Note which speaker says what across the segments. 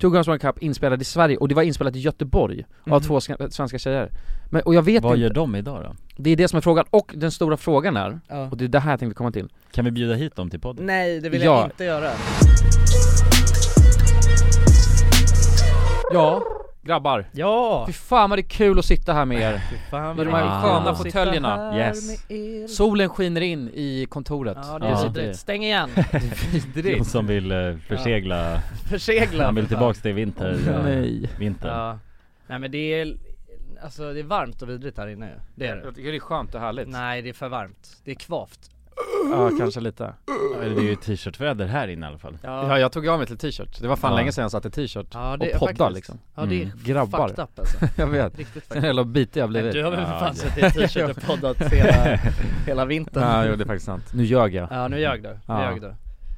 Speaker 1: Two Girls One Cup inspelad i Sverige, och det var inspelat i Göteborg av
Speaker 2: Mhm.
Speaker 1: två ska- svenska tjejer Men, och jag vet
Speaker 3: Vad
Speaker 1: inte,
Speaker 3: gör de idag då?
Speaker 1: det är det som är frågan, och den stora frågan är,
Speaker 2: Ja.
Speaker 1: och det är det här jag tänkte komma till
Speaker 3: Kan vi bjuda hit dem till podden?
Speaker 2: Nej, det vill
Speaker 1: Ja.
Speaker 2: jag inte göra.
Speaker 1: Ja, grabbar
Speaker 2: Ja!
Speaker 1: Fy fan vad det är kul att sitta här med er
Speaker 2: Fy fan,
Speaker 1: Med de
Speaker 3: här
Speaker 2: vad
Speaker 3: sköna
Speaker 2: kul att sitta
Speaker 1: fåtöljerna.
Speaker 2: här
Speaker 3: Yes.
Speaker 2: med er.
Speaker 1: Solen skiner in i kontoret
Speaker 2: Ja, det är
Speaker 3: Ja.
Speaker 2: så vidrigt. Stäng igen.
Speaker 3: De
Speaker 1: vidrigt
Speaker 3: som vill eh, försegla,
Speaker 2: Försegla.
Speaker 3: han vill
Speaker 2: för fan.
Speaker 3: tillbaks till vinter, eh,
Speaker 1: Nej
Speaker 3: vinter
Speaker 2: Ja. Nej men det är, alltså det är varmt och vidrigt här inne ju. Det är det.
Speaker 1: tycker det är skönt och härligt
Speaker 2: Nej det är för varmt. Det är kvavt.
Speaker 1: Ja, kanske lite
Speaker 3: Eller Det är ju t-shirtväder här inne i alla fall
Speaker 1: Ja, jag tog av mig till t-shirt, det var fan
Speaker 3: Ja.
Speaker 1: länge sedan jag satte t-shirt
Speaker 2: Ja,
Speaker 1: och poddar liksom
Speaker 2: Ja det är
Speaker 3: Mm.
Speaker 1: Grabbar.
Speaker 2: fucked up alltså.
Speaker 1: Jag vet,
Speaker 2: Riktigt
Speaker 1: den
Speaker 2: fucked up.
Speaker 1: jävla bitig jag blivit
Speaker 2: Du har väl för
Speaker 3: Ja,
Speaker 2: fan
Speaker 3: det-
Speaker 2: suttit i t-shirt och poddat hela, hela vintern.
Speaker 1: Ja, jo, det är faktiskt sant. Nu ljög jag
Speaker 2: Ja nu ljög du, nu
Speaker 1: Ja.
Speaker 2: ljög du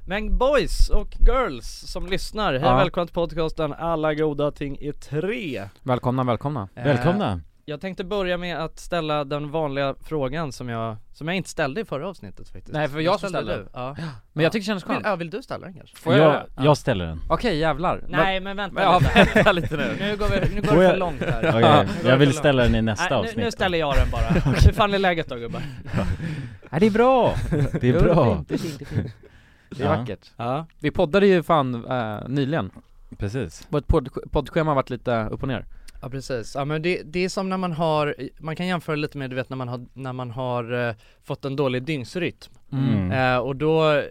Speaker 2: Men boys och girls som lyssnar, hej
Speaker 1: Ja.
Speaker 2: och välkomna till podcasten Alla goda ting i tre
Speaker 1: Välkomna, välkomna
Speaker 2: eh,
Speaker 3: Välkomna!
Speaker 2: Jag tänkte börja med att ställa den vanliga frågan som jag, som jag inte ställde i förra avsnittet faktiskt
Speaker 1: Nej, för jag
Speaker 2: Den
Speaker 1: som ställde
Speaker 2: du. Ja.
Speaker 1: Men jag tycker det känns
Speaker 2: Vill,
Speaker 1: skönt
Speaker 2: ja, vill du ställa den kanske?
Speaker 1: Får jag,
Speaker 3: Jag,
Speaker 1: göra det?
Speaker 3: jag ställer den
Speaker 1: Okej jävlar
Speaker 2: Nej men vänta
Speaker 1: Men, ja,
Speaker 2: lite.
Speaker 1: vänta lite nu
Speaker 2: Nu går, vi, nu går
Speaker 3: Får
Speaker 2: det
Speaker 3: jag-
Speaker 2: för långt här
Speaker 3: Okej, Jag vill ställa den i nästa
Speaker 2: Nej,
Speaker 3: avsnitt
Speaker 2: nu, nu ställer jag den bara, hur fan är läget då gubbar?
Speaker 3: Ja, det är bra! Det är bra!
Speaker 2: Det är fint, det är fint
Speaker 1: Det är
Speaker 3: Ja.
Speaker 1: vackert
Speaker 2: Ja,
Speaker 1: Vi poddade ju fan eh, nyligen,
Speaker 3: Precis
Speaker 1: vårt podd- poddschema har varit lite upp och ner
Speaker 2: Ja precis, ja men det, det är som när man har, man kan jämföra lite med du vet när man har, när man har eh, fått en dålig dygnsrytm
Speaker 3: Mm.
Speaker 2: eh, och då, eh,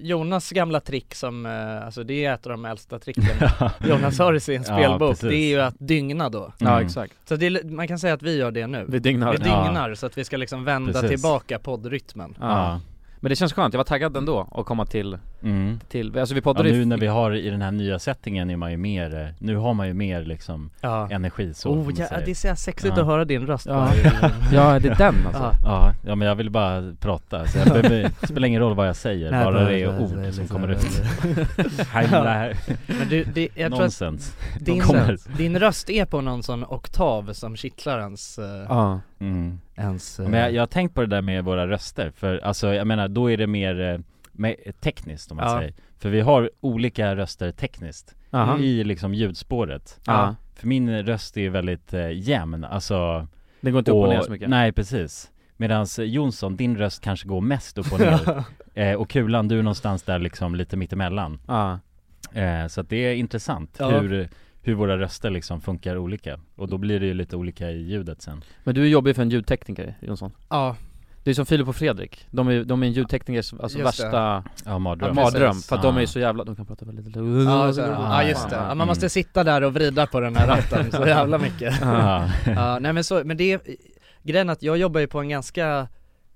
Speaker 2: Jonas gamla trick som, eh, alltså det är ett av de äldsta tricken Jonas har i sin
Speaker 3: Ja,
Speaker 2: spelbok,
Speaker 3: precis.
Speaker 2: det är ju att dygna då
Speaker 1: Ja
Speaker 3: Mm.
Speaker 1: exakt,
Speaker 2: Så det är, li- man kan säga att vi gör det nu
Speaker 1: vi
Speaker 2: Vi
Speaker 1: dygnar
Speaker 3: Ja.
Speaker 2: dygnar så att vi ska liksom vända
Speaker 3: Precis.
Speaker 2: tillbaka poddrytmen
Speaker 1: ja. Men det känns skönt, jag var taggad ändå att komma till,
Speaker 3: Ja. Mm.
Speaker 1: till alltså vi
Speaker 3: Ja,
Speaker 1: poddade
Speaker 3: nu
Speaker 1: ju
Speaker 3: när vi har i den här nya settingen är man ju mer, eh, nu har man ju mer liksom
Speaker 2: Ja,
Speaker 3: energi så får
Speaker 2: oh,
Speaker 3: man
Speaker 2: ja
Speaker 3: säga.
Speaker 2: det är så jävla sexigt
Speaker 3: Ja.
Speaker 2: att höra din röst
Speaker 1: Ja.
Speaker 2: bara.
Speaker 1: Ja det är den alltså
Speaker 2: Ja.
Speaker 3: Ja, ja men jag vill bara prata, så jag behöver, det spelar ingen roll vad jag säger,
Speaker 2: Nej,
Speaker 3: bara det
Speaker 2: nej,
Speaker 3: är ord
Speaker 2: nej,
Speaker 3: som
Speaker 2: nej,
Speaker 3: kommer
Speaker 2: nej,
Speaker 3: ut
Speaker 2: Ja.
Speaker 3: Heimla,
Speaker 2: Men du, det, jag tror att
Speaker 3: nonsens De
Speaker 2: Din,
Speaker 3: kommer.
Speaker 2: din röst är på någon sån oktav som kittlar ens, eh,
Speaker 1: Ja,
Speaker 3: mm.
Speaker 2: ens eh,
Speaker 3: Men jag, jag har tänkt på det där med våra röster, för alltså jag menar då är det mer eh, me- tekniskt om man
Speaker 2: Ja.
Speaker 3: säger För vi har olika röster tekniskt
Speaker 1: Aha.
Speaker 3: i liksom ljudspåret
Speaker 1: Ja.
Speaker 3: För min röst är ju väldigt eh, jämn, alltså
Speaker 1: det går inte upp och ner så mycket
Speaker 3: Nej precis Medan Jonsson, din röst kanske går mest upp och ner eh, Och Kulan, du är någonstans där liksom lite mittemellan
Speaker 1: Ja.
Speaker 3: eh, Så att det är intressant
Speaker 2: Ja.
Speaker 3: hur, hur våra röster liksom funkar olika Och då blir det ju lite olika i ljudet sen
Speaker 1: Men du är jobbig för en ljudtekniker Jonsson
Speaker 2: Ja,
Speaker 1: Det är som Filip och Fredrik, de är, de är en ljudteknikers alltså
Speaker 2: Just det.
Speaker 1: värsta
Speaker 3: Ja, mardröm Ah.
Speaker 1: mardröm
Speaker 2: precis.
Speaker 1: för att de är
Speaker 3: Ja.
Speaker 1: så jävla, de kan prata väldigt lite
Speaker 2: ja, så, ja just det, ja, man
Speaker 3: Mm.
Speaker 2: måste sitta där och vrida på den här ratten så jävla mycket
Speaker 3: Ja.
Speaker 2: Ja, nej men så, men det, är- grejen är att jag jobbar ju på en ganska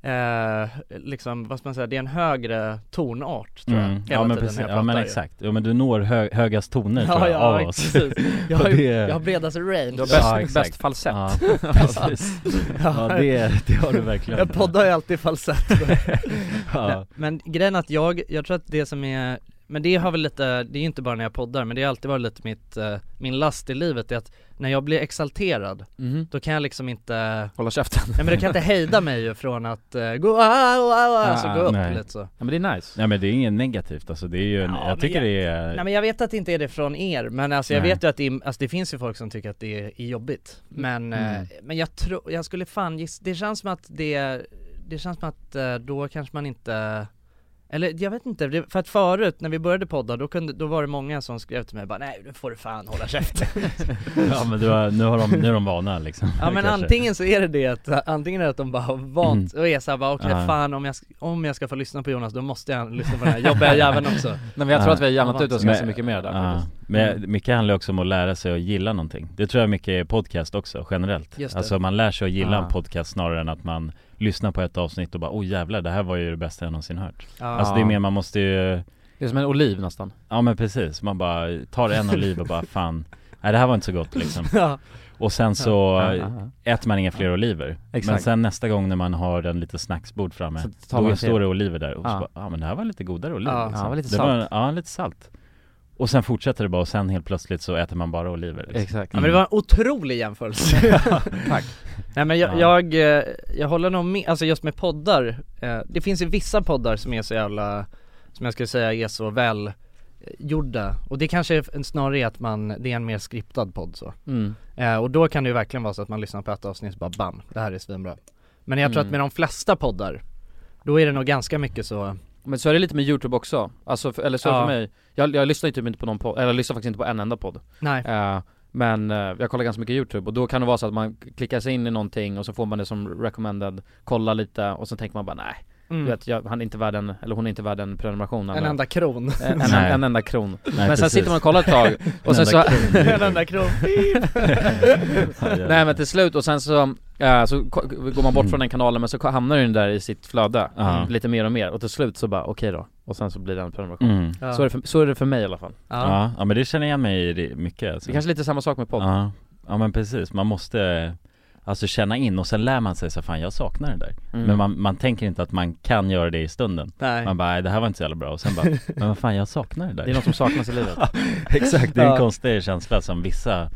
Speaker 2: Eh, liksom, vad ska man säga, det är en högre tonart tror jag,
Speaker 3: Mm.
Speaker 2: hela
Speaker 3: Ja men
Speaker 2: tiden
Speaker 3: precis,
Speaker 2: när jag
Speaker 3: ja men
Speaker 2: pratar ju.
Speaker 3: exakt, ja men du når hö högast toner
Speaker 2: Ja,
Speaker 3: tror jag,
Speaker 2: ja,
Speaker 3: av oss
Speaker 2: precis. Jag har,
Speaker 3: Och
Speaker 2: ju,
Speaker 3: det-
Speaker 2: jag har bredast range
Speaker 1: Du har bäst,
Speaker 3: Ja, exakt.
Speaker 1: bäst falsett
Speaker 3: Ja, precis. ja det, det har du verkligen
Speaker 2: Jag poddar ju alltid i falsett Nej,
Speaker 3: ja.
Speaker 2: Men grejen är att jag, jag tror att det som är, men det har väl lite, det är ju inte bara när jag poddar men det har alltid varit lite mitt, eh, min last i livet är att när jag blir exalterad,
Speaker 3: mm.
Speaker 1: Mhm.
Speaker 2: då kan jag liksom inte,
Speaker 1: Hålla käften
Speaker 2: nej men du kan inte hejda mig ju från att eh, gå, ah, ah, ah, alltså gå upp
Speaker 3: Nej.
Speaker 2: lite så
Speaker 1: Ja men det är nice
Speaker 3: Nej men det är inget negativt alltså, det är ju en,
Speaker 2: Ja, men
Speaker 3: jag tycker
Speaker 2: jag-
Speaker 3: det är
Speaker 2: Nej men jag vet att det inte är det från er, men alltså jag
Speaker 3: Nej.
Speaker 2: vet ju att det, är, alltså det finns ju folk som tycker att det är, är jobbigt Men, eh,
Speaker 3: Mm.
Speaker 2: men jag tror, jag skulle fan gissa, det känns som att det, det känns som att eh, då kanske man inte eller jag vet inte, det- för att förut när vi började podda då, kunde, då var det många som skrev till mig bara nej nu får du fan hålla käften
Speaker 3: Ja men du har, nu, har de, nu är de vana liksom
Speaker 2: Ja men
Speaker 3: Kanske. Mm.
Speaker 2: antingen så är det det att, antingen är det att de bara har vant och är såhär bara okej
Speaker 3: Ja.
Speaker 2: fan om jag, sk- om jag ska få lyssna på Jonas då måste jag lyssna på den här jobbiga jäveln också
Speaker 1: Nej men jag tror
Speaker 3: Ja.
Speaker 1: att vi har jämnat
Speaker 2: Ja,
Speaker 1: ut oss
Speaker 3: men-
Speaker 1: ganska mycket mer där
Speaker 3: Ja.
Speaker 1: faktiskt.
Speaker 3: Men mycket handlar också om att lära sig att gilla någonting Det tror jag mycket är podcast också, generellt
Speaker 2: Just det.
Speaker 3: Alltså man lär sig att gilla
Speaker 1: Ah.
Speaker 3: en podcast snarare än att man lyssnar på ett avsnitt och bara oh jävlar det här var ju det bästa jag någonsin hört
Speaker 2: Ja.
Speaker 3: Alltså det är mer, man måste ju
Speaker 1: Det är som en oliv nästan
Speaker 3: Ja men precis, man bara tar en oliv och bara fan Nej det här var inte så gott liksom
Speaker 2: Ja.
Speaker 3: Och sen så
Speaker 1: Ja, ja, ja.
Speaker 3: äter man inga fler oliver Men
Speaker 1: Exakt.
Speaker 3: sen nästa gång när man har en liten snacksbord framme
Speaker 1: Så tar man
Speaker 3: Då
Speaker 1: en
Speaker 3: står det oliver där och
Speaker 1: Ja.
Speaker 3: så bara, ja men det här var lite godare oliver liksom.
Speaker 2: Ja.
Speaker 1: Ja, det var lite
Speaker 3: det Var, ja lite salt Och sen fortsätter det bara och sen helt plötsligt så äter man bara oliver liksom.
Speaker 1: Exakt
Speaker 2: Ja men det var en otrolig jämförelse
Speaker 1: Mm. Tack.
Speaker 2: Nej men jag,
Speaker 3: Ja.
Speaker 2: jag, eh, jag håller nog med, alltså just med poddar eh, Det finns ju vissa poddar som är så jävla Som jag skulle säga är så väl gjorda och det kanske är en, snarare är att man, det är en mer skriptad podd så.
Speaker 1: Mm.
Speaker 2: Eh, och då kan det ju verkligen vara så att man lyssnar på ett avsnitt och bara bam, det här är svinbra. Men jag tror
Speaker 1: Mm.
Speaker 2: att med de flesta poddar, då är det nog ganska mycket så,
Speaker 1: Men så är det lite med youtube också, alltså, för, eller så är det
Speaker 2: Ja.
Speaker 1: för mig jag, jag lyssnar ju typ inte på någon podd, eller jag lyssnar faktiskt inte på en enda podd
Speaker 2: nej,
Speaker 1: Eh, Men eh, jag kollar ganska mycket youtube och då kan det vara så att man klickar sig in i någonting och så får man det som recommended, kollar lite och sen tänker man bara nej, du
Speaker 2: mm,
Speaker 1: vet, jag, han är inte värd en, eller hon är inte värd en prenumeration
Speaker 2: en
Speaker 1: eller
Speaker 2: enda kron.
Speaker 1: eh, en,
Speaker 3: Nej.
Speaker 1: en enda kron
Speaker 3: Nej,
Speaker 1: Men sen
Speaker 3: precis.
Speaker 1: sitter man och kollar ett tag och sen
Speaker 3: Den
Speaker 1: så,
Speaker 3: där krogen.
Speaker 2: en enda kron.
Speaker 1: nej men till slut och sen så, eh, så ko- går man bort från den kanalen men så ko- hamnar den där i sitt flöde
Speaker 3: Mm. Ja.
Speaker 1: lite mer och mer och till slut så bara okej då, och sen så blir det en prenumeration
Speaker 3: Mm.
Speaker 2: Ja.
Speaker 1: så, är det för, så är det för mig i alla fall
Speaker 2: ja.
Speaker 3: Ja. ja, men det känner jag mig i det- mycket alltså.
Speaker 1: Det är kanske är lite samma sak med podd
Speaker 3: ja. ja, men precis, man måste Alltså känna in och sen lär man sig så här, fan jag saknar det där
Speaker 1: Mm.
Speaker 3: Men man, man tänker inte att man kan göra det i stunden
Speaker 2: Nej.
Speaker 3: Man bara, "Nej, det här var inte så jävla bra och sen bara, men vad fan jag saknar det där
Speaker 1: Det är något som saknas i livet
Speaker 3: Exakt, det är en
Speaker 2: Ja.
Speaker 3: konstig känsla som vissa alltså,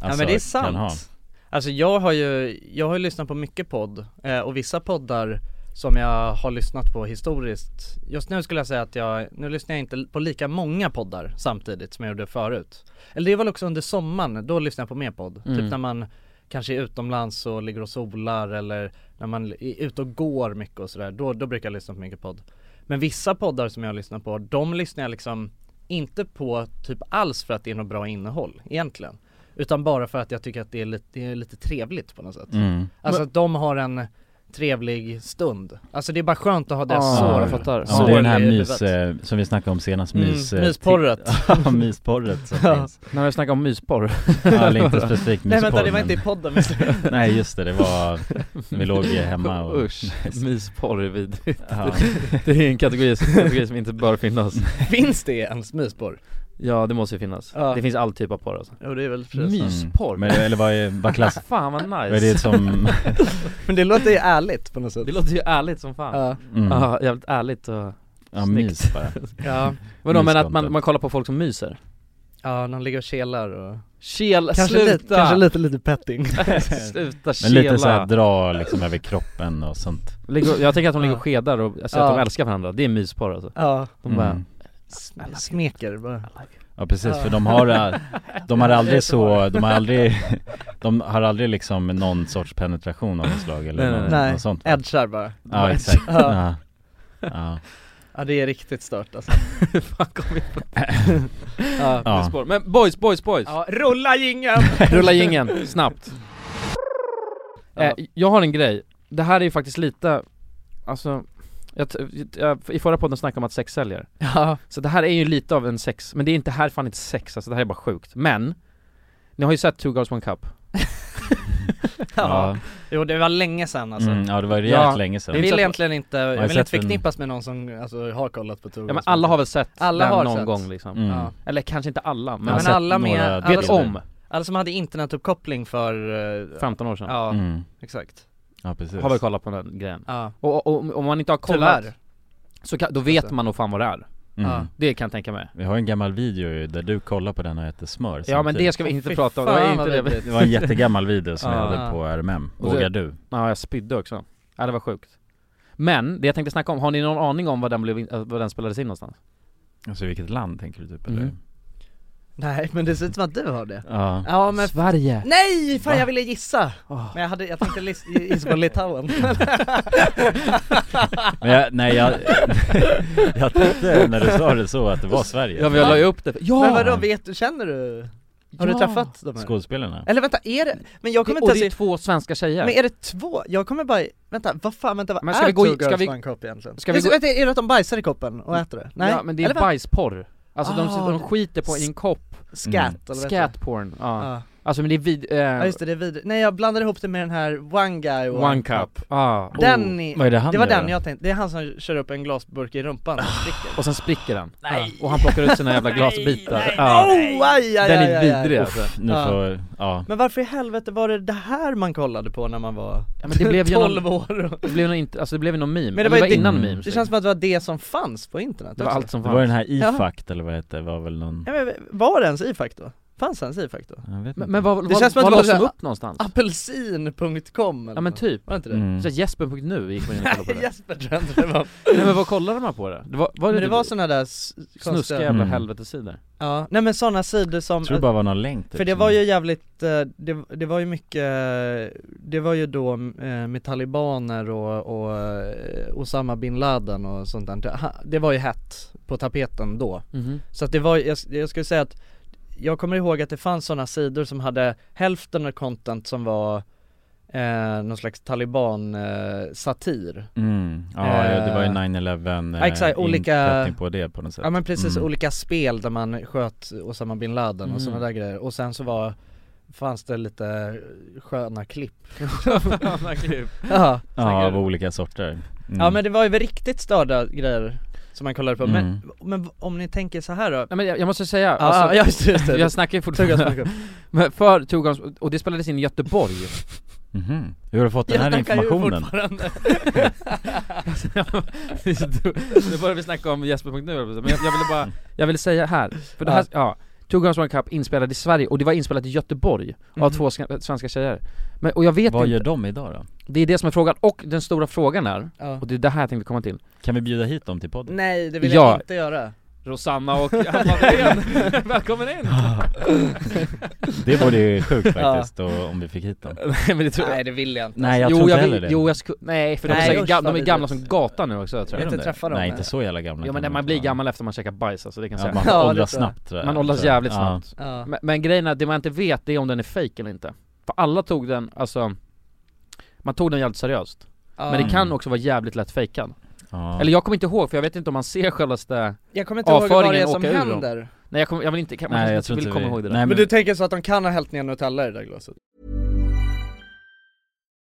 Speaker 2: ja men det är
Speaker 3: kan ha.
Speaker 2: sant Alltså jag har ju, jag har ju lyssnat på mycket podd eh, och vissa poddar som jag har lyssnat på historiskt Just nu skulle jag säga att jag, nu lyssnar jag inte på lika många poddar samtidigt som jag gjorde förut Eller det är väl också under sommaren, då lyssnar jag på mer podd
Speaker 1: Mm.
Speaker 2: Typ när man kanske är utomlands och ligger och solar eller när man är ute och går mycket och sådär då, då brukar jag lyssna på mycket podd Men vissa poddar som jag lyssnar på, de lyssnar jag liksom inte på typ alls för att det är något bra innehåll egentligen Utan bara för att jag tycker att det är lite, det är lite trevligt på något sätt
Speaker 3: Mm.
Speaker 2: Alltså att de har en trevlig stund Alltså det är bara skönt att ha det
Speaker 1: Ah,
Speaker 2: sår
Speaker 1: jag fattar.
Speaker 3: Ja,
Speaker 1: Så
Speaker 3: det är den här
Speaker 2: i
Speaker 3: mys,
Speaker 2: huvudet.
Speaker 3: eh, som vi snackade om senast,
Speaker 2: Mm,
Speaker 3: mys... eh,
Speaker 2: mysporret.
Speaker 3: Ja, mysporret som
Speaker 2: Ja.
Speaker 3: finns
Speaker 1: När vi snackar om mysporr
Speaker 3: Ja, eller inte specifikt
Speaker 2: Nej
Speaker 3: mysporr
Speaker 2: vänta det var
Speaker 3: men-
Speaker 2: inte i podden visst?
Speaker 3: Nej just det, det var, vi låg ju hemma och
Speaker 1: Usch, mysporr är vidrigt
Speaker 3: ja.
Speaker 1: Det är en kategori, som- kategori som inte bör finnas
Speaker 2: Finns det ens mysporr?
Speaker 1: Ja det måste ju finnas,
Speaker 2: Ja.
Speaker 1: det finns all typ av porr alltså
Speaker 2: Jo det är väl precis
Speaker 3: Mm.
Speaker 1: Mysporr?
Speaker 3: Men, eller vad är, vad klass,
Speaker 1: Fan vad
Speaker 3: vad är
Speaker 1: nice!
Speaker 3: Alltså, det som,
Speaker 2: Men det låter ju ärligt på något sätt
Speaker 1: Det låter ju ärligt som fan
Speaker 2: Ja,
Speaker 3: mm,
Speaker 1: Ja, jävligt ärligt och...
Speaker 3: ja
Speaker 1: snyggt.
Speaker 3: mys bara
Speaker 2: ja,
Speaker 1: Vadå men att man,
Speaker 3: Myscontent.
Speaker 1: man kollar på folk som myser?
Speaker 2: ja någon ligger och kelar och
Speaker 1: Kel,
Speaker 2: kanske
Speaker 1: sluta!
Speaker 2: Lite, kanske lite lite petting
Speaker 1: sluta
Speaker 3: Men lite såhär
Speaker 1: kela!
Speaker 3: dra liksom över kroppen och sånt
Speaker 1: Ligger- Jag tänker att de ligger
Speaker 2: Ja.
Speaker 1: och skedar och säger att
Speaker 2: Ja.
Speaker 1: de älskar varandra, det är mysporr alltså
Speaker 2: Ja,
Speaker 1: De bara
Speaker 3: Mm.
Speaker 2: Sm- smeker bara
Speaker 3: Ja precis,
Speaker 2: Ja.
Speaker 3: för de har, eh, de har aldrig så, de har aldrig, de har aldrig liksom någon sorts penetration av något slag eller
Speaker 1: Nej, nej,
Speaker 3: något,
Speaker 2: nej.
Speaker 3: Eh, något sånt
Speaker 2: edgar bara
Speaker 3: Ja exakt, ja, ja.
Speaker 2: Ja det är riktigt stört alltså
Speaker 1: Fan kom igen
Speaker 2: Ja,
Speaker 3: Ja.
Speaker 1: mysporr. Men boys, boys, boys!
Speaker 2: ja rulla jingeln!
Speaker 1: Rulla gingen snabbt eh,
Speaker 2: Ja.
Speaker 1: Jag har en grej, det här är ju faktiskt lite, alltså jag, t- jag, I förra podden snackade jag om att sex säljer,
Speaker 2: Ja,
Speaker 1: så det här är ju lite av en sex, men det är inte, här är fan inte sex alltså, det här är bara sjukt Men, ni har ju sett Two Girls One Cup
Speaker 2: ja. Jo det var länge sedan alltså
Speaker 3: Mm, ja det var rejält
Speaker 1: Ja.
Speaker 3: länge
Speaker 2: Jag
Speaker 1: Det
Speaker 3: sedan
Speaker 1: är-
Speaker 2: vill
Speaker 1: inte-
Speaker 2: egentligen inte, jag vill
Speaker 3: sett
Speaker 2: inte förknippas med någon som alltså, har kollat på Tour
Speaker 1: Ja men alla har väl sett
Speaker 2: Alla
Speaker 1: den
Speaker 2: har
Speaker 1: någon
Speaker 2: sett.
Speaker 1: gång liksom
Speaker 3: mm. Alltså,
Speaker 2: ja.
Speaker 1: Eller kanske inte alla, men,
Speaker 2: Ja, men
Speaker 1: sett,
Speaker 2: alla med-
Speaker 3: några
Speaker 2: alla
Speaker 1: vet
Speaker 3: bilder.
Speaker 1: om,
Speaker 2: Alla som hade internetuppkoppling för, eh,
Speaker 1: 15 år sedan
Speaker 2: ja
Speaker 3: Mm.
Speaker 2: exakt
Speaker 3: Ja precis
Speaker 1: Har väl kollat på den grejen
Speaker 2: Ja,
Speaker 1: Och, och, och om man inte har kollat,
Speaker 2: tyvärr Alltså.
Speaker 1: så kan, då vet man nog fan vad det är
Speaker 3: mm.
Speaker 2: Ja.
Speaker 1: Det kan jag tänka mig
Speaker 3: Vi har en gammal video ju där du kollar på den och äter smör
Speaker 1: Ja men
Speaker 3: samtidigt.
Speaker 1: det ska vi inte
Speaker 2: Fy
Speaker 1: prata om, det
Speaker 2: fan,
Speaker 1: var inte
Speaker 2: vad
Speaker 1: det vi-
Speaker 2: vidrigt.
Speaker 3: Det var en jättegammal video som vi
Speaker 1: Ja.
Speaker 3: hade på RMM,
Speaker 1: Och så-
Speaker 3: Vågar du?
Speaker 1: Ja, jag spydde också. Ja, det var sjukt. Men, det jag tänkte snacka om, har ni någon aning om var den, blev, in- äh, var den spelades in någonstans?
Speaker 3: Alltså vilket land tänker du typ
Speaker 1: eller?
Speaker 3: eller?
Speaker 2: Nej men det ser ut som att du har det
Speaker 3: Ja
Speaker 2: Ja men Mm.
Speaker 1: Sverige!
Speaker 2: Nej! Fan
Speaker 1: Va?
Speaker 2: jag ville gissa!
Speaker 1: Åh.
Speaker 2: Men jag, hade, jag tänkte lis- gissa på Litauen
Speaker 3: Men jag, nej jag, jag tänkte när du sa det så att det var Sverige
Speaker 1: Ja men jag la ju upp det, ja!
Speaker 2: Men vadå, vet du, känner du? Har du
Speaker 1: Ja.
Speaker 2: träffat de här?
Speaker 3: Skådespelarna?
Speaker 2: Eller vänta, är det? Men jag kommer
Speaker 1: och
Speaker 2: inte
Speaker 1: det är
Speaker 2: ens
Speaker 1: två svenska tjejer.
Speaker 2: men är det två? Jag kommer bara, vänta, vad fan, vänta vad
Speaker 1: Men ska
Speaker 2: är
Speaker 1: vi gå i-
Speaker 2: Two
Speaker 1: ska
Speaker 2: Girls
Speaker 1: vi-
Speaker 2: One Cup egentligen?
Speaker 1: ska vi
Speaker 2: Just-
Speaker 1: gå- Mm.
Speaker 2: vänta, är det att de bajsar i koppen och äter det? Nej?
Speaker 1: Ja men det är
Speaker 2: Eller vad?
Speaker 1: bajsporr. Alltså de,
Speaker 2: Ah,
Speaker 1: de skiter på i en kopp,
Speaker 2: Scat,
Speaker 3: Mm.
Speaker 2: eller vad heter det?
Speaker 1: scatporn. Ja.
Speaker 2: Ja.
Speaker 1: Alltså men det är vid, eh,
Speaker 2: Ja just det, det är vid... Nej jag blandade ihop det med den här One Guy och
Speaker 1: one cup. Ah, oh.
Speaker 2: Den är...
Speaker 3: Vad är det han
Speaker 2: Det var
Speaker 3: gör
Speaker 2: den
Speaker 3: då?
Speaker 2: jag tänkte, det är han som kör upp en glasburk i rumpan
Speaker 1: Ah,
Speaker 2: och spricker
Speaker 1: Och sen spricker den. Ja.
Speaker 2: Nej.
Speaker 1: Och han plockar ut sina jävla glasbitar. Ja.
Speaker 2: Oh, aj, aj,
Speaker 1: Den
Speaker 2: aj,
Speaker 1: är
Speaker 2: aj, aj.
Speaker 1: vidrig
Speaker 3: Uff,
Speaker 1: alltså.
Speaker 3: Nu
Speaker 2: Ja.
Speaker 3: får, ja
Speaker 2: Men varför i helvete var det det här man kollade på när man var
Speaker 1: Ja, men det blev ju
Speaker 2: 12
Speaker 1: någon,
Speaker 2: år? och-
Speaker 1: det blev någon, inte- alltså det blev ju någon meme. Men
Speaker 2: det
Speaker 1: det var,
Speaker 2: var ju det-
Speaker 1: innan
Speaker 3: Mm.
Speaker 1: memes.
Speaker 2: Det känns som att det var det som fanns på internet
Speaker 1: det var
Speaker 2: också.
Speaker 1: allt som
Speaker 3: Det var
Speaker 1: fanns.
Speaker 3: den här
Speaker 2: Ja.
Speaker 3: IFACT eller vad det hette, var väl någon
Speaker 2: Ja, men, var det ens IFAC då? Fanns hans i faktiskt då?
Speaker 3: Jag vet
Speaker 1: Men,
Speaker 3: inte.
Speaker 1: men vad,
Speaker 2: Det
Speaker 1: vad,
Speaker 2: känns som
Speaker 1: vad
Speaker 2: att det var
Speaker 1: lades de
Speaker 2: så Mm. här-
Speaker 1: upp någonstans?
Speaker 2: Apelsin.com eller
Speaker 1: Ja men
Speaker 2: något.
Speaker 1: typ,
Speaker 2: Var det inte det?
Speaker 3: Mm.
Speaker 1: så här, jesper.nu gick man in och kollade på
Speaker 2: Nej
Speaker 1: det
Speaker 2: Jesper tror jag inte det var
Speaker 1: Nej men vad kollade man på det? Det var, var
Speaker 2: Men
Speaker 1: det,
Speaker 2: det typ var såna där s-
Speaker 1: snuska
Speaker 2: konstiga,
Speaker 1: jävla
Speaker 3: Mm.
Speaker 1: helvetesidor
Speaker 2: ja, nej men såna sidor som
Speaker 3: Jag tror det bara var någon länk typ,
Speaker 2: För det
Speaker 3: som-
Speaker 2: var ju jävligt, eh, det, det var ju mycket, eh, det var ju då eh, med talibaner och, och eh, Osama bin Laden och sånt där Ha- Det var ju hett på tapeten då
Speaker 1: Mhm.
Speaker 2: Så att det var, jag, jag skulle säga att Jag kommer ihåg att det fanns sådana sidor som hade hälften av content som var eh, någon slags eh, taliban-satir
Speaker 3: Mm. Ja, ja, det var ju
Speaker 2: Eh,
Speaker 3: 9-11
Speaker 2: ja, exakt, olika-
Speaker 3: inkräktning på det på något sätt
Speaker 2: Ja men precis,
Speaker 3: Mm.
Speaker 2: olika spel där man sköt Osama bin Laden
Speaker 1: Mm.
Speaker 2: och sådana där grejer och sen så var Fanns det lite sköna klipp? ja.
Speaker 3: Ja, av olika sorter Mm.
Speaker 2: ja men det var ju riktigt störda grejer som man kollade på
Speaker 3: Mm.
Speaker 2: men, men om ni tänker så här då?
Speaker 1: Nej men jag, jag måste säga,
Speaker 2: Ja,
Speaker 1: alltså,
Speaker 2: ja just det, just det.
Speaker 1: jag snackar ju fortfarande
Speaker 2: Tugga,
Speaker 1: Men för Tugans, och det spelades in i Göteborg
Speaker 3: Mhm. Hur har du fått den
Speaker 2: Jag
Speaker 3: här
Speaker 2: snackar ju
Speaker 3: informationen?
Speaker 2: fortfarande.
Speaker 1: Nu börjar vi snacka om Jesper.nu men jag, jag ville bara, jag ville säga här, för det här, ja Two Girls One Cup inspelad i Sverige, och det var inspelat i Göteborg av
Speaker 2: Mhm.
Speaker 1: två ska- svenska tjejer Men, och jag vet
Speaker 3: Vad
Speaker 1: inte,
Speaker 3: gör de idag då?
Speaker 1: det är det som är frågan, och den stora frågan är,
Speaker 2: ja.
Speaker 1: och det är det här jag tänkte komma till
Speaker 3: Kan vi bjuda hit dem till podden?
Speaker 2: Nej det vill
Speaker 1: Ja.
Speaker 2: jag inte göra
Speaker 1: Rosanna och Hanna Wilén, välkommen in!
Speaker 3: Det vore ju sjukt faktiskt och, om vi fick hit dem
Speaker 1: Nej men det tror jag
Speaker 2: Nej det vill jag inte
Speaker 3: Nej jag
Speaker 1: jo,
Speaker 3: tror inte
Speaker 1: jag
Speaker 3: heller
Speaker 1: vill,
Speaker 3: det
Speaker 1: jo jag skulle, nej för de,
Speaker 2: Nej,
Speaker 1: är säkert
Speaker 2: usch,
Speaker 1: gamla,
Speaker 2: vad
Speaker 1: de är gamla som
Speaker 2: vidrigt.
Speaker 1: gatan nu också tror
Speaker 2: Jag
Speaker 1: jag
Speaker 2: vet inte
Speaker 3: det?
Speaker 2: träffa dem
Speaker 3: Nej inte så jävla gamla
Speaker 1: Jo
Speaker 3: kan
Speaker 1: men
Speaker 3: de
Speaker 1: man
Speaker 3: inte
Speaker 1: blir
Speaker 3: vara.
Speaker 1: gammal efter man käkar bajs alltså, det kan jag
Speaker 3: ja,
Speaker 1: säga
Speaker 3: Man
Speaker 2: Ja, det
Speaker 3: åldras
Speaker 2: tror jag.
Speaker 3: snabbt tror jag.
Speaker 1: Man åldras
Speaker 3: tror jag.
Speaker 1: jävligt
Speaker 3: Ja.
Speaker 1: snabbt
Speaker 2: ja.
Speaker 1: men, men grejen är, det man inte vet det är om den är fake eller inte För alla tog den, alltså Man tog den jävligt seriöst
Speaker 2: Ja.
Speaker 1: Men det kan
Speaker 3: Mm.
Speaker 1: också vara jävligt lätt fejkad
Speaker 3: Ja.
Speaker 1: Eller jag kommer inte ihåg för jag vet inte om man ser självaste
Speaker 2: Jag kommer inte ihåg vad det är
Speaker 1: avföringen
Speaker 2: som
Speaker 1: åka ur dem.
Speaker 2: händer
Speaker 1: Nej jag, kommer, jag vill inte, kan- man
Speaker 3: Nej,
Speaker 1: kanske
Speaker 3: jag
Speaker 1: inte
Speaker 3: tror
Speaker 1: vill
Speaker 3: inte
Speaker 1: komma
Speaker 3: vi-
Speaker 1: ihåg det där
Speaker 3: Nej,
Speaker 1: Nej,
Speaker 2: Men
Speaker 3: men-
Speaker 2: du tänker så att de kan ha hällt ner Nutella i det där glaset?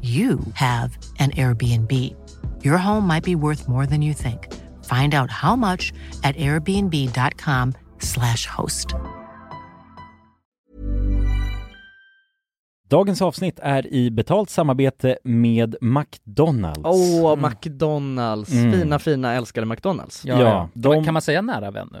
Speaker 4: you have an Airbnb. Your home might be worth more than you think. Find out how much at airbnb.com/slash host.
Speaker 3: Dagens avsnitt är i betalt samarbete med McDonalds
Speaker 2: Åh, McDonalds,
Speaker 3: Mm.
Speaker 2: fina fina älskade McDonalds
Speaker 3: Ja, ja. de-
Speaker 1: Kan man säga nära vän nu?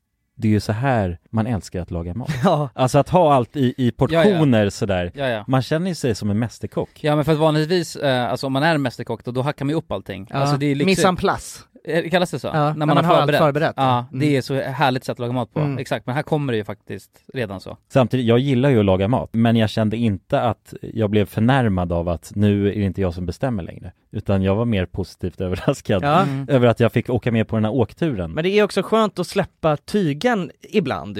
Speaker 3: det är ju så här man älskar att laga mat.
Speaker 2: Ja.
Speaker 3: Alltså att ha allt i, i portioner sådär.
Speaker 1: Ja, ja.
Speaker 3: Man känner ju sig som en mästerkock.
Speaker 1: Ja men för att vanligtvis, eh, alltså om man är mästerkock då, då hackar man ju upp allting.
Speaker 2: Ja.
Speaker 1: Alltså det är liksom,
Speaker 2: Mise en place.
Speaker 1: Eh, kallas det så?
Speaker 2: Ja, när man har allt förberett.
Speaker 1: Ja,
Speaker 2: Mm.
Speaker 1: det är så härligt sätt att laga mat på.
Speaker 2: Mm.
Speaker 1: Exakt, men här kommer det ju faktiskt redan så.
Speaker 3: Samtidigt, jag gillar ju att laga mat, men jag kände inte att jag blev förnärmad av att nu är det inte jag som bestämmer längre. Utan jag var mer positivt överraskad
Speaker 2: Ja.
Speaker 3: över att jag fick åka med på den här åkturen.
Speaker 2: Men det är också skönt att släppa tygen ibland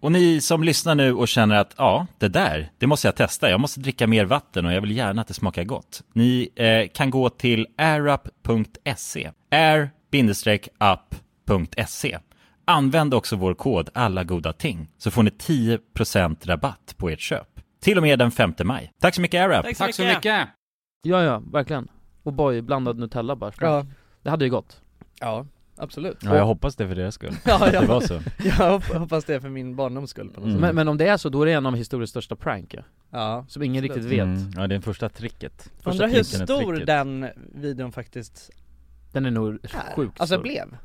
Speaker 3: Och ni som lyssnar nu och känner att ja, det där, det måste jag testa. Jag måste dricka mer vatten och jag vill gärna att det smakar gott. Ni eh, kan gå till airup.se. air-up.se. Använd också vår kod alla goda ting så får ni 10% rabatt på ert köp. Till och med den 5 maj. Tack så mycket AirUp!
Speaker 5: Tack så mycket!
Speaker 1: Ja, ja, verkligen. Och boy, blandad Nutella bara. Det hade ju gått.
Speaker 2: ja absolut.
Speaker 3: Ja, jag hoppas det för deras skull.
Speaker 2: Ja,
Speaker 3: Det var
Speaker 2: jag,
Speaker 3: så.
Speaker 2: jag hop- hoppas det för min barndoms skull på något sätt.
Speaker 3: Mm.
Speaker 1: Men, men om det är så, då är det en av historiens största prank ju.
Speaker 2: Ja.
Speaker 1: Som ingen
Speaker 2: Absolut.
Speaker 1: riktigt vet.
Speaker 3: Mm. Ja, det är den första tricket. Första
Speaker 2: Undrar hur
Speaker 3: tricken är
Speaker 2: stor
Speaker 3: tricket.
Speaker 2: den videon faktiskt
Speaker 1: Den är nog
Speaker 2: är.
Speaker 1: sjukt
Speaker 2: alltså
Speaker 1: stor.
Speaker 2: blev.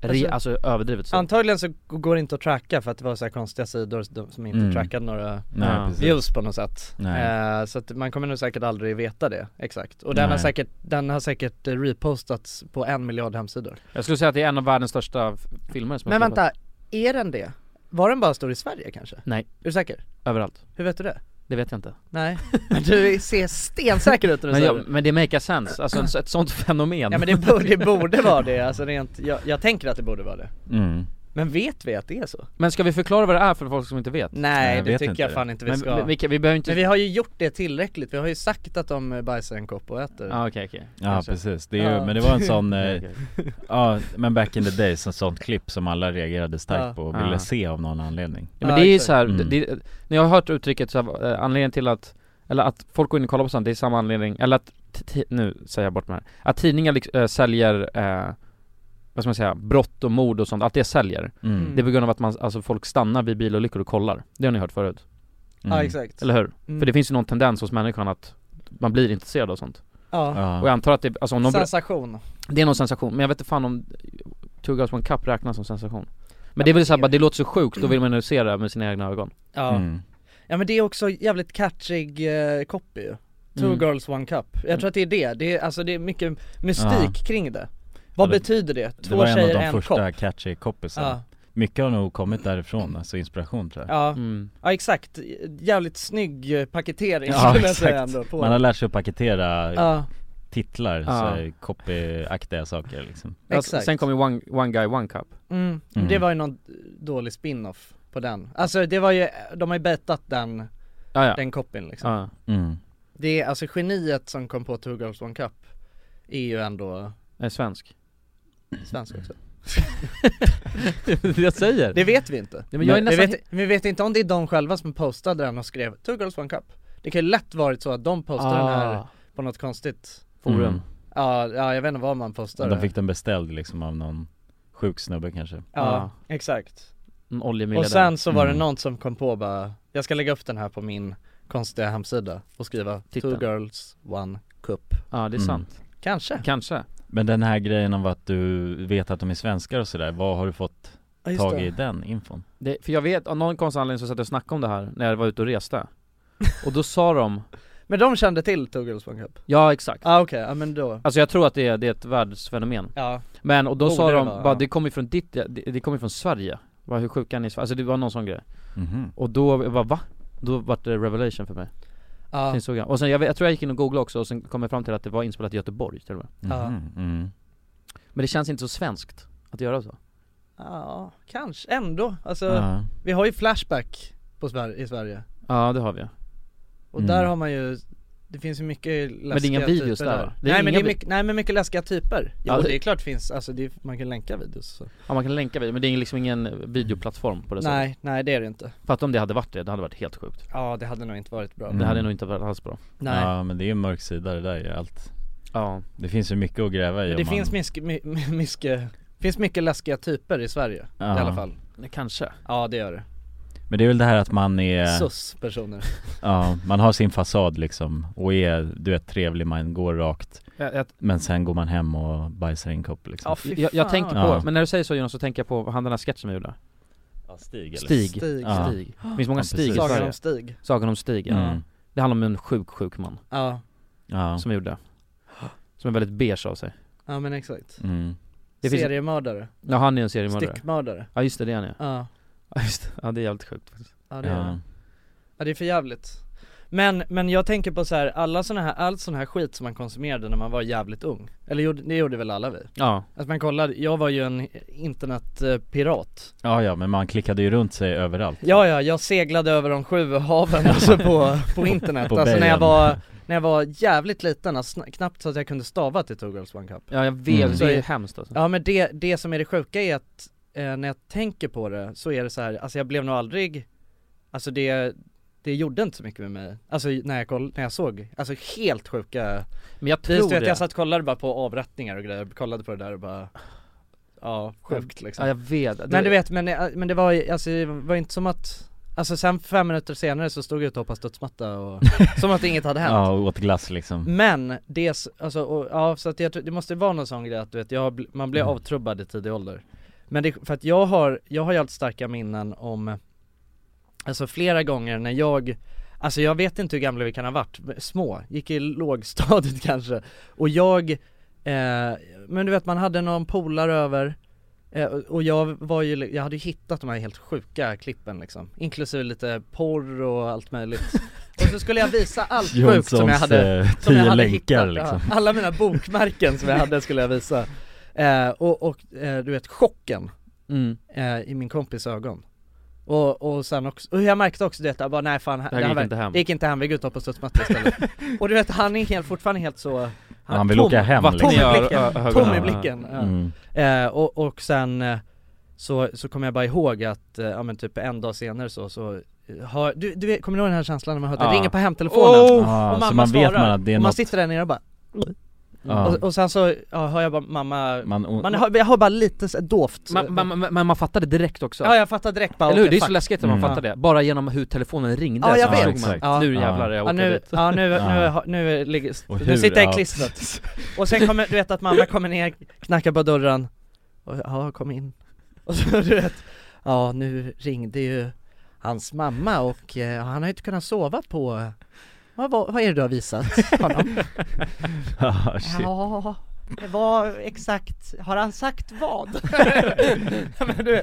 Speaker 1: Re, alltså överdrivet stor.
Speaker 2: Antagligen så g- går det inte att tracka för att det var så här konstiga sidor som- som inte
Speaker 3: Mm.
Speaker 2: trackade några
Speaker 3: Nej,
Speaker 1: Ja.
Speaker 3: precis.
Speaker 2: views på något sätt.
Speaker 3: Nej.
Speaker 2: Eh, så att man kommer nog säkert aldrig veta det exakt. Och den har
Speaker 3: Nej.
Speaker 2: säkert, den har säkert eh, repostats på en miljard hemsidor.
Speaker 1: Jag skulle säga att det är en av världens största f- filmer som
Speaker 2: Men
Speaker 1: har skapats.
Speaker 2: vänta, är den det? Var den bara stor i Sverige kanske?
Speaker 1: Nej.
Speaker 2: Är du säker?
Speaker 1: Överallt.
Speaker 2: Hur vet du det?
Speaker 1: Det vet jag inte.
Speaker 2: Nej, men du ser stensäker ut när du
Speaker 1: Men,
Speaker 2: säger
Speaker 1: jag,
Speaker 2: det.
Speaker 1: men det makes sense, alltså ett, ett sånt fenomen.
Speaker 2: Ja men det borde, det borde vara det, alltså rent, jag, jag tänker att det borde vara det.
Speaker 3: Mm.
Speaker 2: Men vet vi att det är så?
Speaker 1: Men ska vi förklara vad det är för folk som inte vet?
Speaker 2: Nej,
Speaker 3: jag
Speaker 2: det
Speaker 3: vet
Speaker 2: tycker
Speaker 3: inte
Speaker 2: jag
Speaker 3: det.
Speaker 2: fan inte vi
Speaker 1: Men
Speaker 2: ska.
Speaker 1: vi, vi, vi behöver inte...
Speaker 2: Men vi har ju gjort det tillräckligt, vi har ju sagt att de eh, bajsar en kopp och äter
Speaker 1: Ja okej okej.
Speaker 3: Ja
Speaker 1: Kanske.
Speaker 3: precis, det är ju,
Speaker 2: Ja.
Speaker 3: men det var en sån,
Speaker 1: Okej,
Speaker 3: eh,
Speaker 1: okej.
Speaker 3: ja men back in the days, en sån klipp som alla reagerade starkt
Speaker 2: Ja.
Speaker 3: på och ville
Speaker 1: Ja.
Speaker 3: se av någon anledning
Speaker 1: Ja, men
Speaker 2: Ja,
Speaker 1: det är ju
Speaker 2: exakt.
Speaker 1: så här,
Speaker 3: Mm.
Speaker 1: det, det- när jag har hört uttrycket så här, eh, anledningen till att, eller att folk går in och kollar på sånt, det är samma anledning, eller att, t- ti- nu säger jag bort mig här, att tidningar liksom, eh, säljer, eh, vad ska man säga, brott och mord och sånt, att det säljer.
Speaker 3: mm.
Speaker 2: Mm.
Speaker 1: Det är på grund av att man, alltså folk stannar vid bilolyckor och kollar. Det har ni hört förut.
Speaker 2: Ja exakt
Speaker 1: Eller hur?
Speaker 2: Mm.
Speaker 1: För det finns ju någon tendens hos människan att man blir intresserad av sånt.
Speaker 2: Ja,
Speaker 3: Ja.
Speaker 1: Och jag antar att det, alltså om någon,
Speaker 2: sensation
Speaker 1: det är någon sensation, men jag vet inte fan om Two girls one cup räknas som sensation. Men det är väl såhär bara, det låter så sjukt, då vill man ju se det med sina egna ögon.
Speaker 2: Ja,
Speaker 3: Mm.
Speaker 2: ja men det är också jävligt catchig eh, copy ju Two
Speaker 1: Mm.
Speaker 2: girls one cup, jag tror att det är det, det är, alltså det är mycket mystik kring det Vad
Speaker 3: Ja, det-
Speaker 2: betyder det? Två
Speaker 3: Det var en
Speaker 2: tjejer,
Speaker 3: av
Speaker 2: en
Speaker 3: de första
Speaker 2: kopp?
Speaker 3: catchy copysarna
Speaker 2: Ja,
Speaker 3: Mycket har nog kommit därifrån, alltså inspiration tror jag
Speaker 2: ja,
Speaker 1: Mm.
Speaker 2: ja exakt, jävligt snygg eh, paketering
Speaker 3: Ja,
Speaker 2: skulle jag säga
Speaker 3: exakt.
Speaker 2: ändå på
Speaker 3: Man har lärt sig att paketera
Speaker 2: Ja,
Speaker 3: titlar,
Speaker 1: Ja.
Speaker 3: så copyaktiga saker liksom
Speaker 1: Alltså,
Speaker 2: exakt
Speaker 1: sen kom ju one, one guy one cup.
Speaker 2: Mm.
Speaker 3: Mm.
Speaker 2: Det var ju någon dålig spin-off på den. Alltså det var ju, de har ju betat den,
Speaker 1: Ja, ja.
Speaker 2: den koppin liksom.
Speaker 1: ja.
Speaker 3: mm.
Speaker 2: Det är alltså geniet som kom på Two Girls One Cup är ju ändå
Speaker 1: Är svensk.
Speaker 2: svensk också.
Speaker 1: Mm. det är det jag säger.
Speaker 2: Det vet vi inte.
Speaker 1: Ja, men jag är
Speaker 2: vi,
Speaker 1: nästan,
Speaker 2: vet, vi vet inte om det är de själva som postade den och skrev Two Girls One Cup. Det kan ju lätt varit så att de postade den här
Speaker 1: Ah,
Speaker 2: på något konstigt.
Speaker 1: forum.
Speaker 3: Mm.
Speaker 2: Ja, ja jag vet inte vad man postade.
Speaker 3: De fick den beställd liksom av någon sjuk snubbe kanske
Speaker 2: Ja,
Speaker 1: Ah.
Speaker 2: exakt.
Speaker 1: En
Speaker 2: Och
Speaker 1: oljemiljardär.
Speaker 2: sen så var det
Speaker 3: Mm.
Speaker 2: någon som kom på bara, jag ska lägga upp den här på min konstiga hemsida och skriva
Speaker 1: Titeln.
Speaker 2: Two girls, one cup
Speaker 1: Ja, det är
Speaker 3: Mm.
Speaker 1: sant.
Speaker 2: Kanske
Speaker 1: Kanske.
Speaker 3: Men den här grejen om att du vet att de är svenskar och sådär, vad har du fått tag i den infon?
Speaker 1: Det, för jag vet, av någon konstig anledning så satt jag och snackade om det här när jag var ute och reste. Och då sa de,
Speaker 2: Men de kände till Two girls, one cup?
Speaker 1: ja exakt.
Speaker 2: Ja ah, okej, ja men då
Speaker 1: Alltså jag tror att det är, det är ett världsfenomen.
Speaker 2: Ja,
Speaker 1: Men och då
Speaker 2: Borde
Speaker 1: sa
Speaker 2: det
Speaker 1: de
Speaker 2: vara,
Speaker 1: bara,
Speaker 2: ja.
Speaker 1: Oh, det kommer från ditt, det, det kommer från Sverige. Bara, hur sjuka är ni i Sverige? Alltså det var någon sån grej.
Speaker 3: Mhm.
Speaker 1: Och då, jag bara, va? Då vart det revelation för mig.
Speaker 2: ja,
Speaker 1: Sen insåg jag. Och sen jag, vet- jag tror jag gick in och googlade också och sen kom jag fram till att det var inspelat i Göteborg till och med.
Speaker 3: Mhm.
Speaker 2: Ja.
Speaker 3: Mm.
Speaker 1: Men det känns inte så svenskt att göra så.
Speaker 2: ja kanske ändå, alltså
Speaker 3: Ja.
Speaker 2: vi har ju Flashback på Sver- i Sverige
Speaker 1: Ja det har vi ju.
Speaker 2: Och
Speaker 3: Mm.
Speaker 2: där har man ju, det finns ju mycket läskiga
Speaker 1: det är inga videos
Speaker 2: typer
Speaker 1: där, va? Det är
Speaker 2: Nej men
Speaker 1: inga
Speaker 2: det är
Speaker 1: vi-
Speaker 2: mycket, nej men mycket läskiga typer Jo
Speaker 1: Ja, det-
Speaker 2: det är klart finns, alltså det, är- man kan länka videos så.
Speaker 1: Ja man kan länka vid, men det är liksom ingen videoplattform på det sättet.
Speaker 2: Nej, nej det är det inte
Speaker 1: För att om det hade varit det, det hade varit helt sjukt.
Speaker 2: Ja det hade nog inte varit bra
Speaker 1: Det
Speaker 3: Mm.
Speaker 1: hade nog inte varit alls bra.
Speaker 2: Nej
Speaker 3: ja men det är ju en mörk sida det där är ju allt
Speaker 1: Ja.
Speaker 3: Det finns ju mycket att gräva i
Speaker 2: Men
Speaker 3: om
Speaker 2: det
Speaker 3: man...
Speaker 2: finns, myske, my, my- myske, finns mycket läskiga typer i Sverige
Speaker 3: Ja.
Speaker 2: i alla fall
Speaker 1: Kanske.
Speaker 2: Ja det gör det,
Speaker 3: Men det är väl det här att man är,
Speaker 2: sus-personer
Speaker 3: ja, man har sin fasad liksom och är, du vet trevlig, man går rakt
Speaker 1: Jag, jag,
Speaker 3: Men sen går man hem och bajsar i en kopp liksom
Speaker 2: Ja fy
Speaker 1: jag, jag
Speaker 2: fan.
Speaker 1: tänkte på,
Speaker 3: Ja.
Speaker 1: men när du säger så Jonas så tänker jag på han den här sketchen vi gjorde.
Speaker 3: Ja, Stig
Speaker 1: Stig.
Speaker 2: Stig,
Speaker 3: Ja.
Speaker 1: Stig. Det finns många
Speaker 3: Ja,
Speaker 1: Stig i
Speaker 3: precis.
Speaker 2: Sagan
Speaker 1: Sverige.
Speaker 2: om Stig
Speaker 1: Sagan om Stig, ja.
Speaker 3: Mm.
Speaker 1: Det handlar om en sjuk, sjuk man
Speaker 2: Ja,
Speaker 3: Ja,
Speaker 1: som gjorde det. Som är väldigt beige av sig.
Speaker 2: ja men exakt
Speaker 3: mm.
Speaker 1: Det finns-
Speaker 2: Seriemördare,
Speaker 1: Ja han är en seriemördare.
Speaker 2: styckmördare
Speaker 1: Ja just det, det är han ja.
Speaker 2: Ja,
Speaker 1: Ja just det, ja det är jävligt sjukt faktiskt.
Speaker 2: ja det, är
Speaker 3: ja.
Speaker 2: det. ja det är för jävligt men, men jag tänker på så här, alla såna här, all sån här skit som man konsumerade när man var jävligt ung Eller gjorde, det gjorde väl alla vi?
Speaker 1: Ja.
Speaker 2: Att man kollade, jag var ju en eh, internetpirat
Speaker 3: ja, ja, men man klickade ju runt sig överallt
Speaker 2: Ja, ja, jag seglade över de sju haven alltså på, på internet,
Speaker 3: På
Speaker 2: alltså när jag
Speaker 3: Bayern.
Speaker 2: var, när jag var jävligt liten, alltså, sna- knappt så att jag kunde stava till Two Girls One Cup
Speaker 1: Ja jag vet,
Speaker 3: Mm.
Speaker 1: det är hemskt alltså.
Speaker 2: Ja men det, det som är det sjuka är att, eh, när jag tänker på det så är det så här, alltså jag blev nog aldrig, alltså det, det gjorde inte så mycket med mig, alltså när jag, koll, när jag såg, alltså helt sjuka
Speaker 1: Men jag
Speaker 2: Det är
Speaker 1: tror
Speaker 2: så att
Speaker 1: det.
Speaker 2: jag satt och kollade bara på avrättningar och grejer, kollade på det där och bara, ja sjukt liksom
Speaker 1: Ja jag vet. Det-
Speaker 2: Men du vet, men, eh, men det var ju- alltså, det var ju inte som att Alltså sen fem minuter senare så stod jag ute och hoppade studsmatta och, som att inget hade hänt
Speaker 3: Ja, och åt glass liksom
Speaker 2: Men det, s- alltså, och, ja så att jag, tror- det måste vara någon sån grej att du vet, jag, har bl- man blir
Speaker 3: Mm.
Speaker 2: avtrubbad i tidig ålder Men det, för att jag har, jag har ju allt starka minnen om Alltså flera gånger när jag Alltså jag vet inte hur gamla vi kan ha varit, men små, gick i lågstadiet kanske Och jag, eh, men du vet man hade någon polare över eh, och- Och jag var ju, li- jag hade ju hittat de här helt sjuka klippen liksom Inklusive lite porr och allt möjligt Och så skulle jag visa allt sjukt som jag
Speaker 3: Jonssons
Speaker 2: hade
Speaker 3: eh,
Speaker 2: som jag
Speaker 3: tio
Speaker 2: hade
Speaker 3: länkar
Speaker 2: hittat,
Speaker 3: liksom
Speaker 2: ja. Alla mina bokmärken som jag hade skulle jag visa eh, Och, och eh, du vet chocken
Speaker 1: Mm.
Speaker 2: eh, i min kompis ögon och, och sen också, och jag märkte också du vet, jag bara nej fan,
Speaker 1: Det här gick inte hem.
Speaker 2: det gick inte hem, vi gick ut och på studsmatta istället Och du vet han är helt, fortfarande helt så Han,
Speaker 3: Han vill
Speaker 2: tom,
Speaker 3: åka hem
Speaker 1: Vatten
Speaker 3: liksom
Speaker 1: i ö-
Speaker 2: blicken.
Speaker 1: ö- ögonen.
Speaker 2: Tom i
Speaker 1: Ja.
Speaker 2: blicken ja.
Speaker 3: Mm.
Speaker 2: Eh, och, och sen eh, så, så kommer jag bara ihåg att, eh, ja men typ en dag senare så, så eh, har, du, du vet, kommer du ihåg den här känslan när man hör att
Speaker 1: Ja.
Speaker 2: det ringer på hemtelefonen?
Speaker 1: Oh!
Speaker 3: Ah,
Speaker 2: och
Speaker 3: så
Speaker 2: mamma
Speaker 3: man vet
Speaker 2: svarar,
Speaker 3: man att det är
Speaker 2: och man
Speaker 3: något
Speaker 2: sitter där nere och bara
Speaker 3: Ja.
Speaker 1: Alltså,
Speaker 2: Och, och sen så ja, hör jag bara mamma,
Speaker 3: Man, o-
Speaker 2: man hör, jag hör bara lite så- dovt
Speaker 1: Man, man, man, men man fattar det direkt också
Speaker 2: Ja jag fattar direkt bara
Speaker 1: Eller hur?
Speaker 2: okej,
Speaker 1: Det är så
Speaker 2: fuck.
Speaker 1: läskigt att man
Speaker 3: Mm.
Speaker 1: fattar det, bara genom hur telefonen ringde
Speaker 2: Ja,
Speaker 1: så
Speaker 2: jag vet.
Speaker 1: förstod man.
Speaker 3: Exakt.
Speaker 2: Ja.
Speaker 1: Nu
Speaker 3: Ja.
Speaker 1: jävlar jag
Speaker 2: Ja
Speaker 1: åker
Speaker 2: nu,
Speaker 1: dit
Speaker 2: ja nu, nu,
Speaker 3: Ja.
Speaker 2: nu ligger,
Speaker 3: Och
Speaker 2: nu
Speaker 3: hur,
Speaker 2: sitter jag i
Speaker 3: ja.
Speaker 2: klistret Och sen kommer, du vet att mamma kommer ner, knackar på dörren och, Ja, kom in Och så du vet Ja, nu ringde ju hans mamma och eh, han har ju inte kunnat sova på vad, var- vad är det du har visat honom?
Speaker 3: Ah, shit.
Speaker 2: ja, det var exakt, har han sagt vad? men du,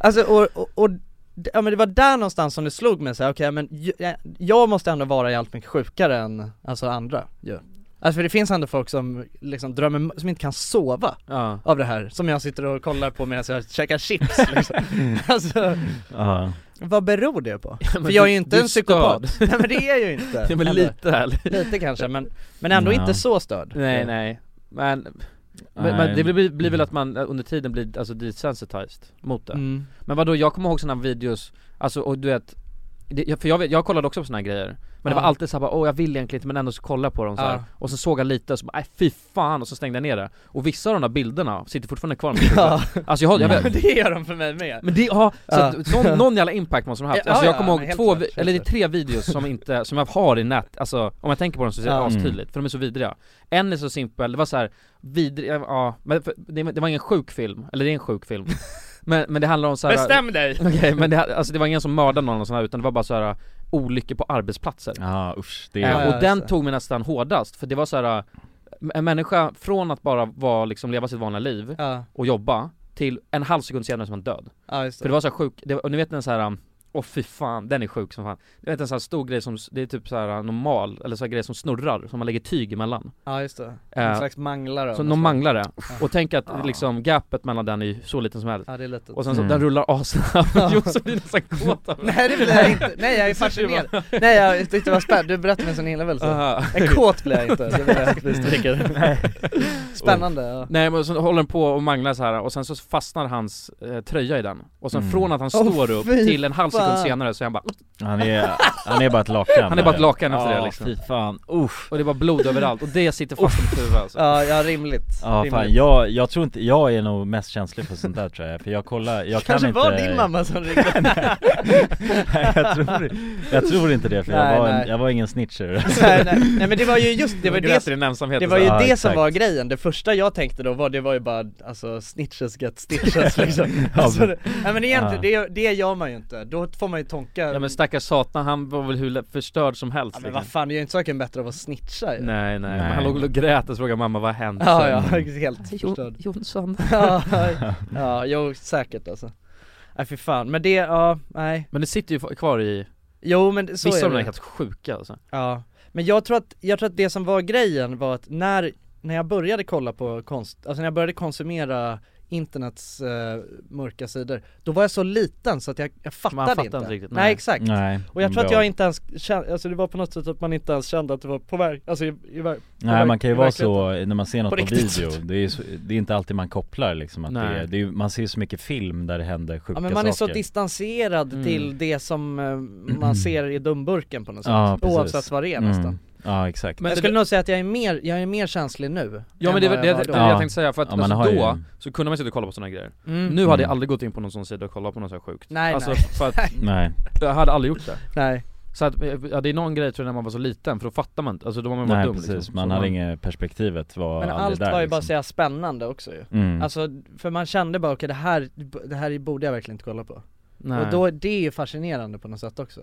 Speaker 2: alltså och, och, och d- ja, men det var där någonstans som det slog mig så här, okej men ju- jag, jag måste ändå vara jävligt mycket sjukare än alltså andra ju. Alltså för det finns ändå folk som liksom drömmer, som inte kan sova
Speaker 1: Ja.
Speaker 2: av det här, som jag sitter och kollar på medan jag käkar chips liksom. Alltså,
Speaker 3: Ja.
Speaker 2: vad beror det på?
Speaker 1: men
Speaker 2: För jag är ju
Speaker 1: du-
Speaker 2: inte
Speaker 1: du är
Speaker 2: en psykopat, nej men det är jag ju inte
Speaker 1: Ja, men
Speaker 2: Eller,
Speaker 1: lite här.
Speaker 2: lite kanske men, men ändå
Speaker 3: Ja.
Speaker 2: inte så störd Mm.
Speaker 1: Nej nej, men, men, men det blir, blir väl att man eh, under tiden blir alltså desensitized mot det
Speaker 2: Mm.
Speaker 1: Men vadå, jag kommer ihåg sådana videos, alltså och du vet det, jag- för jag, vet, jag kollade också på såna här grejer, men det var
Speaker 2: Ja.
Speaker 1: alltid såhär bara, åh jag vill egentligen inte men ändå så kollar jag på dem så här.
Speaker 2: Ja.
Speaker 1: Och så såg jag lite och så bara, nej fy fan och så stängde jag ner det Och vissa av de där bilderna sitter fortfarande kvar i mitt huvud
Speaker 2: Ja,
Speaker 1: Alltså jag, har- jag vet,
Speaker 2: men det gör de för mig med
Speaker 1: Men det, ja, så
Speaker 2: Ja.
Speaker 1: att, någon, någon jävla impact måste de ha haft.
Speaker 2: Ja,
Speaker 1: Alltså jag
Speaker 2: ja,
Speaker 1: kommer
Speaker 2: men
Speaker 1: ihåg
Speaker 2: helt
Speaker 1: två,
Speaker 2: klart,
Speaker 1: vi-
Speaker 2: helt
Speaker 1: eller det är
Speaker 2: klart.
Speaker 1: tre videos som inte, som jag har i nät, alltså om jag tänker på dem så ser det
Speaker 2: Ja. Mm.
Speaker 1: astydligt, för de är så vidriga En är så simpel, det var så här vidrig, ja, men för- det, det var ingen sjuk film, eller det är en sjuk film Men, men det handlar om så här.
Speaker 2: Bestäm dig!
Speaker 1: Okej, men det, alltså det var ingen som mördade någon och sån här, utan det var bara så här uh, olyckor på arbetsplatser
Speaker 3: Ja, usch. Det
Speaker 1: Eh,
Speaker 3: är...
Speaker 2: Ja,
Speaker 1: och
Speaker 2: just
Speaker 1: den
Speaker 2: det.
Speaker 1: tog mig nästan hårdast, för det var så här eh, en människa från att bara vara, liksom, leva sitt vanliga liv
Speaker 2: Ja,
Speaker 1: och jobba, till en halv sekund senare som man död
Speaker 2: ja just
Speaker 1: för det var så här sjuk, det, var- och ni vet den så här um, Åh fy fan, den är sjuk som fan. Du vet en sån här stor grej som, s- det är typ så här uh, normal, eller så här grej som snurrar, som man lägger tyg emellan.
Speaker 2: Ja just det,
Speaker 1: Eh,
Speaker 2: en slags manglare av
Speaker 1: Så
Speaker 2: något
Speaker 1: någon
Speaker 2: slag.
Speaker 1: manglare. Och tänk att
Speaker 2: Ah.
Speaker 1: liksom gapet mellan den är ju så liten som helst.
Speaker 2: Ja det är lite
Speaker 1: Och sen så,
Speaker 3: Mm.
Speaker 1: den rullar assnabbt, Josef blir nästan kåt av det.
Speaker 2: Nej det blir jag inte, nej jag är fascinerad Nej jag tyckte det var spännande, du berättade med en sån inlevelse
Speaker 1: Aha.
Speaker 2: En kåt blir jag inte, det vill jag faktiskt stryka Spännande ja
Speaker 1: Nej men så håller den på och manglar så här och sen så fastnar hans eh, tröja i den. Och sen
Speaker 3: Mm.
Speaker 1: från att han
Speaker 2: Åh,
Speaker 1: står upp
Speaker 2: fy
Speaker 1: till en halv sekund
Speaker 2: fan.
Speaker 1: senare så är han bara,
Speaker 3: Han, är, han är bara ett lakan.
Speaker 1: han är bara ett lakan efter
Speaker 3: Ja,
Speaker 1: det liksom.
Speaker 3: fy fan. Usch.
Speaker 1: Och det är bara blod överallt och det sitter fast i mitt huvud alltså.
Speaker 2: Ja, ja rimligt
Speaker 3: Ja fan,
Speaker 2: Rimligt.
Speaker 3: jag, jag tror inte, jag är nog mest känslig för sånt där tror jag, för jag kollar, jag
Speaker 2: Kanske
Speaker 3: kan
Speaker 2: var
Speaker 3: inte
Speaker 2: din mamma som ringde
Speaker 3: Nej, jag, tror, jag tror inte det för
Speaker 2: Nej,
Speaker 3: jag, var en,
Speaker 2: nej.
Speaker 3: jag var ingen snitcher
Speaker 2: nej, nej. nej men det var ju just, det var ju det
Speaker 1: i ensamheten
Speaker 2: Det var ju
Speaker 3: Ja,
Speaker 2: det som
Speaker 3: exakt.
Speaker 2: var grejen, det första jag tänkte då var, det var ju bara alltså snitches get stitches liksom
Speaker 3: Ja,
Speaker 2: alltså,
Speaker 3: men-
Speaker 2: det, Nej men egentligen, det, det gör man ju inte, då får man ju tonka
Speaker 1: Ja men stackars satan, han var väl hur lä- förstörd som helst
Speaker 2: Ja, men vad
Speaker 1: liksom.
Speaker 2: fan, det gör inte saken bättre av att snitcha ju
Speaker 1: Nej nej,
Speaker 3: Nej.
Speaker 1: Men han låg och grät och frågade mamma vad har hänt?
Speaker 2: Ja ja, helt förstörd
Speaker 1: Jonsson
Speaker 2: ja, ja, jo säkert alltså Nej fy fan, men det, ja, nej
Speaker 1: Men det sitter ju kvar i,
Speaker 2: Jo men så
Speaker 1: vissa
Speaker 2: är
Speaker 1: av dem
Speaker 2: det
Speaker 1: är helt sjuka alltså
Speaker 2: Ja, men jag tror att, jag tror att det som var grejen var att när, när jag började kolla på konst, alltså när jag började konsumera internets eh, mörka sidor, då var jag så liten så att jag, jag fattade
Speaker 1: Man fattar
Speaker 2: inte.
Speaker 1: inte riktigt,
Speaker 2: nej.
Speaker 1: nej.
Speaker 2: exakt.
Speaker 3: Nej,
Speaker 2: Och jag tror att
Speaker 3: bra.
Speaker 2: jag inte ens kände, alltså det var på något sätt att man inte ens kände att det var på väg, alltså i, i, väg- på
Speaker 3: Nej
Speaker 2: väg-
Speaker 3: man kan ju
Speaker 2: i
Speaker 3: vara
Speaker 2: verkligheten.
Speaker 3: så när man ser något
Speaker 2: På
Speaker 3: på,
Speaker 2: riktigt.
Speaker 3: video, det är, ju så, det är inte alltid man kopplar liksom att det
Speaker 1: Nej.
Speaker 3: är, det är, ju- man ser ju så mycket film där det händer sjuka
Speaker 2: Ja men man är så
Speaker 3: saker Mm.
Speaker 2: distanserad
Speaker 1: Mm.
Speaker 2: till det som eh, man ser i dumburken på något sätt,
Speaker 3: Ja, precis. Mm.
Speaker 2: oavsett vad det är nästan
Speaker 3: Ja exakt,
Speaker 1: Men
Speaker 2: Jag
Speaker 1: det-
Speaker 2: skulle nog säga att jag är mer, jag är mer känslig nu
Speaker 1: Ja men
Speaker 2: än
Speaker 1: det, var-
Speaker 2: vad
Speaker 1: det, det,
Speaker 2: jag var
Speaker 1: det
Speaker 2: då.
Speaker 1: jag
Speaker 3: Ja.
Speaker 1: tänkte säga, för att
Speaker 3: Ja, man
Speaker 1: alltså,
Speaker 3: har
Speaker 1: då
Speaker 3: ju-
Speaker 1: så kunde man sitta och kolla på sådana grejer
Speaker 2: Mm.
Speaker 1: Nu hade jag
Speaker 3: Mm.
Speaker 1: aldrig gått in på någon sån sida och kollat på något så här sjukt
Speaker 2: Nej,
Speaker 1: Alltså
Speaker 2: nej.
Speaker 1: för att,
Speaker 3: nej
Speaker 1: jag hade aldrig gjort det
Speaker 2: Nej
Speaker 1: Så att, ja, det är någon grej tror jag när man var så liten, för då fattar man inte, alltså då var man bara
Speaker 3: Nej
Speaker 1: dum
Speaker 3: precis,
Speaker 1: liksom. Så
Speaker 3: man hade inget perspektivet var
Speaker 2: Men allt
Speaker 3: aldrig där
Speaker 2: var ju bara
Speaker 3: liksom.
Speaker 2: så jävla spännande också ju
Speaker 3: mm.
Speaker 2: Alltså, för man kände bara okej det här, det här borde jag verkligen inte kolla på
Speaker 1: nej.
Speaker 2: Och då, det är ju fascinerande på något sätt också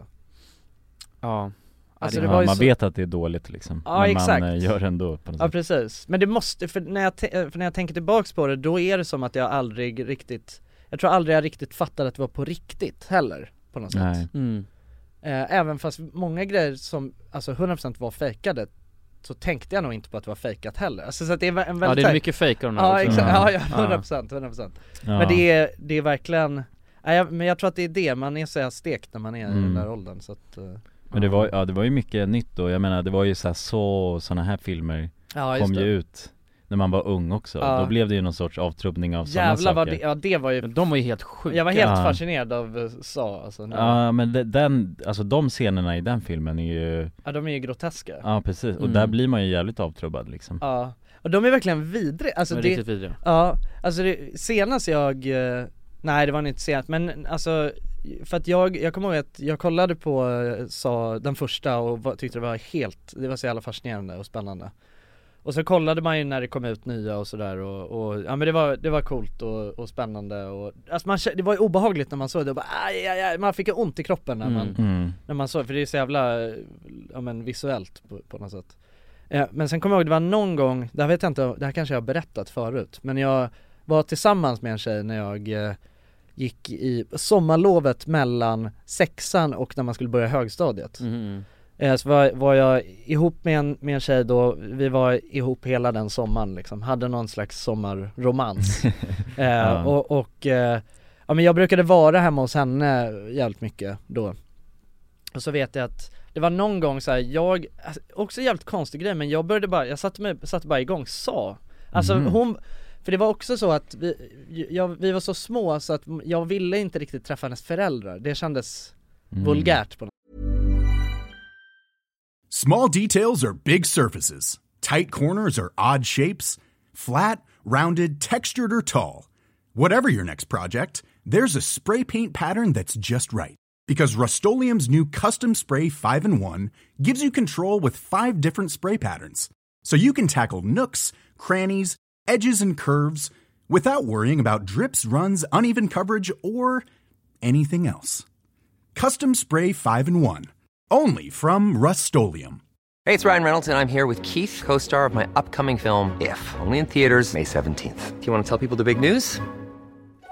Speaker 1: ja.
Speaker 2: Alltså
Speaker 1: det
Speaker 2: det
Speaker 3: ja,
Speaker 2: var ju
Speaker 3: man
Speaker 2: så,
Speaker 3: vet att det är dåligt liksom,
Speaker 2: Ja,
Speaker 3: men man
Speaker 2: exakt.
Speaker 3: eh, gör det ändå på något
Speaker 2: ja
Speaker 3: sätt.
Speaker 2: precis, men det måste, för när, jag te- för när jag tänker tillbaks på det då är det som att jag aldrig riktigt Jag tror aldrig jag riktigt fattade att det var på riktigt heller på något sätt
Speaker 3: Nej,
Speaker 1: mm.
Speaker 2: eh, Även fast många grejer som, alltså 100% var fejkade Så tänkte jag nog inte på att det var fejkat heller, alltså, så att det är en
Speaker 1: ja
Speaker 2: väldigt
Speaker 1: det är mycket fejk av de
Speaker 2: Ja
Speaker 1: här också.
Speaker 3: Mm.
Speaker 2: exakt, ja, ja
Speaker 1: Ja.
Speaker 2: 100%, 100%
Speaker 3: ja.
Speaker 2: Men det är, det är verkligen, nej, jag, men jag tror att det är det, man är så här stekt när man är i den
Speaker 3: Mm.
Speaker 2: där åldern så att eh,
Speaker 3: Men det var, ja, det var ju mycket nytt då, jag menar det var ju så här, så sådana här filmer
Speaker 2: Ja
Speaker 3: kom ju ut när man var ung också.
Speaker 2: Ja.
Speaker 3: Då blev det ju någon sorts avtrubbning av sådana
Speaker 2: Jävlar
Speaker 3: saker.
Speaker 2: vad det, ja det var ju
Speaker 1: Men de var ju helt sjuka
Speaker 2: Jag var helt
Speaker 3: Ja.
Speaker 2: fascinerad av eh, Saw alltså, när-
Speaker 3: Ja men de- den, alltså de scenerna i den filmen är ju,
Speaker 2: ja de är ju groteska
Speaker 3: ja precis, och
Speaker 1: Mm.
Speaker 3: där blir man ju jävligt avtrubbad liksom
Speaker 2: Ja, och de är verkligen vidriga, alltså
Speaker 1: de
Speaker 2: det,
Speaker 1: var riktigt vidriga
Speaker 2: ja, alltså det, senast jag, eh, nej det var inte senast, men alltså för att jag, jag kommer ihåg att jag kollade på, eh, sa den första och var, tyckte det var helt, det var så jävla fascinerande och spännande Och så kollade man ju när det kom ut nya och sådär och, och ja men det var, det var coolt och, och spännande och, alltså man, kä- det var ju obehagligt när man såg det och bara, aj, aj, aj, man fick ju ont i kroppen när man
Speaker 1: Mm.
Speaker 3: mm.
Speaker 2: när man såg, för det är så jävla, eh, ja men visuellt på, på något sätt eh, Men sen kommer jag ihåg, det var någon gång, det här vet jag inte, det här kanske jag har berättat förut Men jag var tillsammans med en tjej när jag eh, gick i sommarlovet mellan sexan och när man skulle börja högstadiet
Speaker 1: Mhm.
Speaker 2: eh, Så var, var jag ihop med en, med en tjej då, vi var ihop hela den sommaren liksom, hade någon slags sommarromans eh,
Speaker 3: Ja.
Speaker 2: Och, och eh, ja men jag brukade vara hemma hos henne jävligt mycket då och så vet jag att det var någon gång så här, jag, alltså, också jävligt konstig grej men jag började bara, jag satte, mig, satte bara igång sa Alltså
Speaker 3: Mhm.
Speaker 2: hon, för det var också så att vi, jag, vi var så små så att jag ville inte riktigt träffa hennes föräldrar, det kändes
Speaker 3: Mm.
Speaker 2: vulgärt på något
Speaker 6: Small details are big surfaces. Tight corners are odd shapes. Flat, rounded, textured, or tall. Whatever your next project, there's a spray paint pattern that's just right. Because Rust new Custom Spray 5 in 1 gives you control with five different spray patterns. So you can tackle nooks, crannies, edges, and curves without worrying about drips, runs, uneven coverage, or anything else. Custom Spray 5 in 1. Only from Rust
Speaker 7: Hey, it's Ryan Reynolds, and I'm here with Keith, co star of my upcoming film, If, only in theaters, May 17th. Do you want to tell people the big news?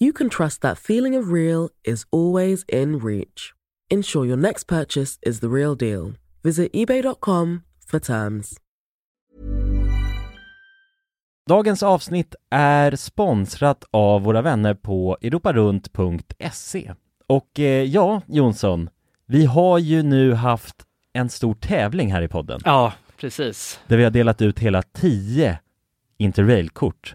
Speaker 4: you can trust that feeling of real is always in reach. Ensure your next purchase is the real deal. Visit eBay.com for terms.
Speaker 3: Dagens avsnitt är sponsrat av våra vänner på europarunt.se Och eh, ja, Jonsson, vi har ju nu haft en stor tävling här i podden
Speaker 8: Ja, precis.
Speaker 3: där vi har delat ut hela 10 interrailkort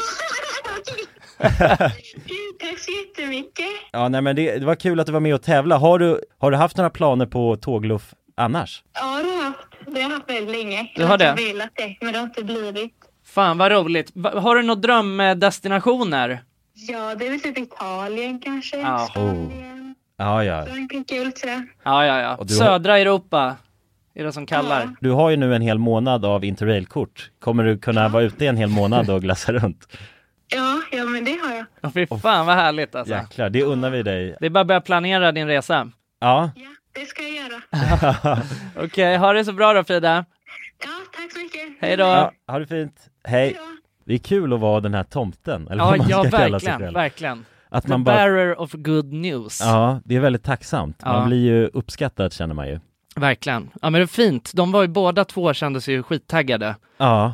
Speaker 9: Gud, Tack så jättemycket.
Speaker 3: Ja, nej men det, det var kul att du var med och tävla. Har du, har du haft några planer på tågluff annars?
Speaker 9: Ja, det har jag haft. Det har jag haft väldigt länge.
Speaker 2: Du har det?
Speaker 9: Jag har velat det, men det har inte blivit.
Speaker 2: Fan vad roligt. Va- Har du några drömdestinationer?
Speaker 9: Ja, det är väl typ Italien kanske.
Speaker 2: Ja.
Speaker 9: Spanien.
Speaker 3: Ja, ja.
Speaker 9: Frankrike, tror jag.
Speaker 2: Ja, ja, ja.
Speaker 3: Och du har-
Speaker 2: Södra Europa är det som kallar.
Speaker 3: Du har ju nu en hel månad av interrailkort. Kommer du kunna vara ute en hel månad och glassa runt?
Speaker 9: Ja, ja, men det har jag.
Speaker 2: Åh, Fy fan vad härligt alltså.
Speaker 3: Jäklar, det unnar vi dig.
Speaker 2: Det är bara att börja planera din resa.
Speaker 3: Ja,
Speaker 9: Det ska jag göra.
Speaker 2: Okej, ha det så bra då Frida.
Speaker 9: Ja, tack så mycket.
Speaker 2: Hej då.
Speaker 3: ja ha det fint. Hej. Det är kul att vara den här tomten, eller
Speaker 2: Ja,
Speaker 3: vad man
Speaker 2: ja
Speaker 3: ska kalla sig
Speaker 2: verkligen,
Speaker 3: själv.
Speaker 2: verkligen.
Speaker 3: Att
Speaker 2: The
Speaker 3: man bara-
Speaker 2: bearer of good news.
Speaker 3: Ja, det är väldigt tacksamt.
Speaker 2: Ja.
Speaker 3: Man blir ju uppskattad känner man ju.
Speaker 2: Verkligen. Ja men det är fint. De var ju båda två kände sig ju skittaggade
Speaker 3: Ja,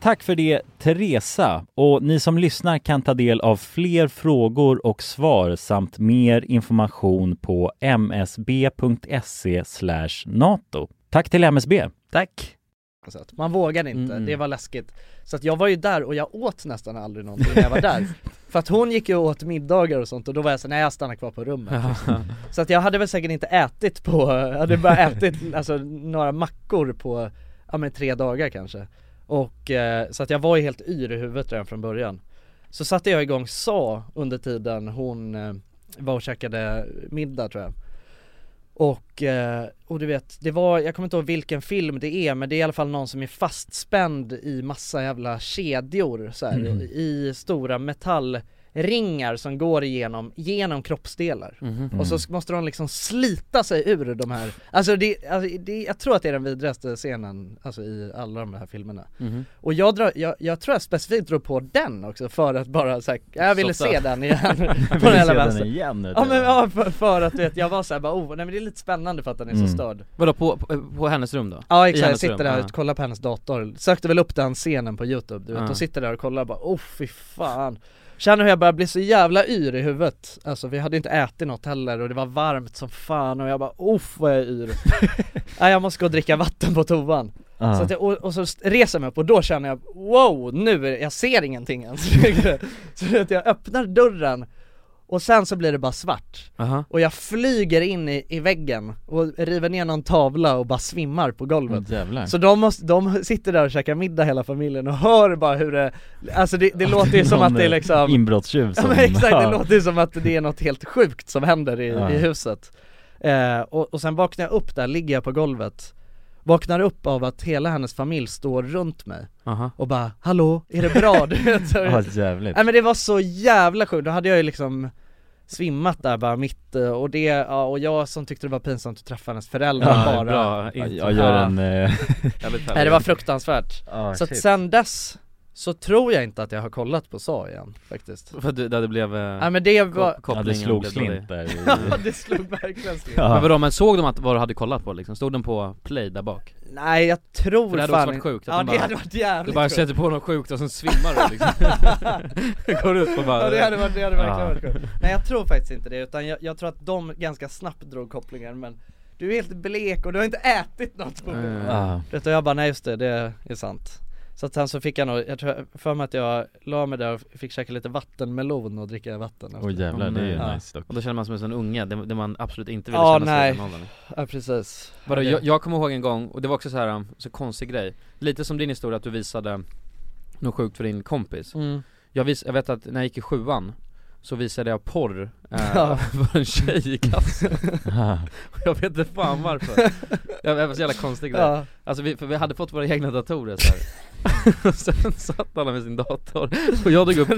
Speaker 3: Tack för det, Teresa. Och ni som lyssnar kan ta del av fler frågor och svar samt mer information på msb.se E NATO. Tack till MSB.
Speaker 2: Tack. Så att man vågade inte, det var läskigt. Så att jag var ju där och jag åt nästan aldrig någonting när jag var där. För att hon gick ju och åt middagar och sånt och då var jag så nej jag stannar kvar på rummet. så att jag hade väl säkert inte ätit på, jag hade bara ätit alltså, några mackor på, ja men tre dagar kanske. Och eh, så att jag var ju helt yr i huvudet redan från början Så satte jag igång SA under tiden hon eh, var och käkade middag tror jag och, eh, och du vet, det var, jag kommer inte ihåg vilken film det är men det är i alla fall någon som är fastspänd i massa jävla kedjor så här,
Speaker 1: Mhm.
Speaker 2: i stora metallringar som går igenom, genom kroppsdelar.
Speaker 1: Mhm.
Speaker 2: Och så sk- måste de liksom slita sig ur de här, alltså, det, alltså det, jag tror att det är den vidrigaste scenen alltså, i alla de här filmerna.
Speaker 1: Mhm.
Speaker 2: Och jag, drar, jag, jag tror jag specifikt drog på den också för att bara så här, jag ville
Speaker 3: Softa.
Speaker 2: se den igen
Speaker 3: Jag ville
Speaker 2: på den
Speaker 3: se
Speaker 2: jävla
Speaker 3: den
Speaker 2: vänstern.
Speaker 3: igen nu,
Speaker 2: Ja
Speaker 1: Typ.
Speaker 3: till
Speaker 2: men
Speaker 3: och med.
Speaker 2: ja, för, för att du vet, jag var såhär bara oh, nej men det är lite spännande för att den är
Speaker 1: Mm.
Speaker 2: så störd
Speaker 1: Vadå, på, på, på hennes rum då?
Speaker 2: Ja
Speaker 1: I
Speaker 2: exakt, jag
Speaker 1: hennes
Speaker 2: sitter
Speaker 1: rum,
Speaker 2: där
Speaker 1: ja.
Speaker 2: och kollar på hennes dator, sökte väl upp den scenen på youtube du vet,
Speaker 1: Ja.
Speaker 2: och sitter där och kollar och bara oh fy fan Känner hur jag börjar bli så jävla yr i huvudet, alltså vi hade inte ätit något heller och det var varmt som fan och jag bara oh vad jag är yr Nej jag måste gå och dricka vatten på toan
Speaker 3: Ja.
Speaker 2: så att jag, och, och så reser jag mig upp och då känner jag wow, nu, är, jag ser ingenting ens Så att jag öppnar dörren och sen så blir det bara svart
Speaker 1: Aha.
Speaker 2: och jag flyger in i, i väggen och river ner någon tavla och bara svimmar på golvet
Speaker 1: Åh, jävlar.
Speaker 2: Så de, måste, de sitter där och käkar middag hela familjen och hör bara hur det, alltså det, det låter ju som
Speaker 3: Någon,
Speaker 2: att det är
Speaker 3: eh,
Speaker 2: liksom
Speaker 3: inbrottstjuv
Speaker 2: Ja
Speaker 3: som-
Speaker 2: men exakt, det
Speaker 3: Ja.
Speaker 2: låter ju som att det är något helt sjukt som händer i,
Speaker 3: Ja.
Speaker 2: i huset eh, och, och sen vaknar jag upp där, ligger jag på golvet Vaknar upp av att hela hennes familj står runt mig
Speaker 1: Aha.
Speaker 2: och bara 'Hallå, är det bra?' Du vet, så-
Speaker 3: Ja, jävligt.
Speaker 2: Nej men det var så jävla sjukt, då hade jag ju liksom svimmat där bara mitt eh, och det, ja, och jag som tyckte det var pinsamt att träffa hennes föräldrar
Speaker 3: Ja,
Speaker 2: bara
Speaker 3: bra. Jag gör en, eh, Jävligt
Speaker 2: Nej det var fruktansvärt
Speaker 1: Ja,
Speaker 2: Så att
Speaker 1: shit.
Speaker 2: sen dess så tror jag inte att jag har kollat på SA igen faktiskt
Speaker 1: För att det, där det blev... eh,
Speaker 2: Nej men det var...
Speaker 1: ko- kopplingen blev dålig.
Speaker 2: Ja det slog verkligen slint
Speaker 1: Men vadå, men såg de att vad du hade kollat på liksom? Stod den på play där bak?
Speaker 2: Nej jag tror
Speaker 1: För det hade
Speaker 2: fan
Speaker 1: också varit
Speaker 2: inte-
Speaker 1: sjukt att
Speaker 2: Ja
Speaker 1: de
Speaker 2: det hade varit jävligt
Speaker 1: Du bara
Speaker 2: sjukt.
Speaker 1: sätter på något sjukt och sen svimmar du liksom Går ut och bara
Speaker 2: Ja det hade varit, det hade verkligen varit
Speaker 1: Ja.
Speaker 2: sjukt Nej jag tror faktiskt inte det utan jag, jag tror att de ganska snabbt drog kopplingen men Du är helt blek och du har inte ätit något på
Speaker 1: Mm.
Speaker 3: Ah.
Speaker 2: Vet du, jag bara nej just det, det är sant Så att sen så fick jag nog, jag tror, för mig att jag la mig där och fick käka lite vattenmelon och dricka vatten efter.
Speaker 1: Åh, nej.
Speaker 2: Ja.
Speaker 1: Och då känner man sig som en unge, det, det man absolut inte ville
Speaker 2: Ja
Speaker 1: känna sig i
Speaker 2: nej,
Speaker 1: den åldern
Speaker 2: ja precis
Speaker 1: Vadå,
Speaker 2: Det-
Speaker 1: jag, jag kommer ihåg en gång, och det var också så här um, så konstig grej Lite som din historia att du visade något sjukt för din kompis
Speaker 2: Mm.
Speaker 1: jag, vis, jag vet att när jag gick i sjuan så visade jag porr eh,
Speaker 2: Ja.
Speaker 1: för en tjej i klassen
Speaker 3: Ah.
Speaker 1: Och Jag vet inte fan varför Jag jag var så jävla konstig där
Speaker 2: Ja.
Speaker 1: Alltså vi, för vi hade fått våra egna datorer så här. och sen satt alla med sin dator och jag drog upp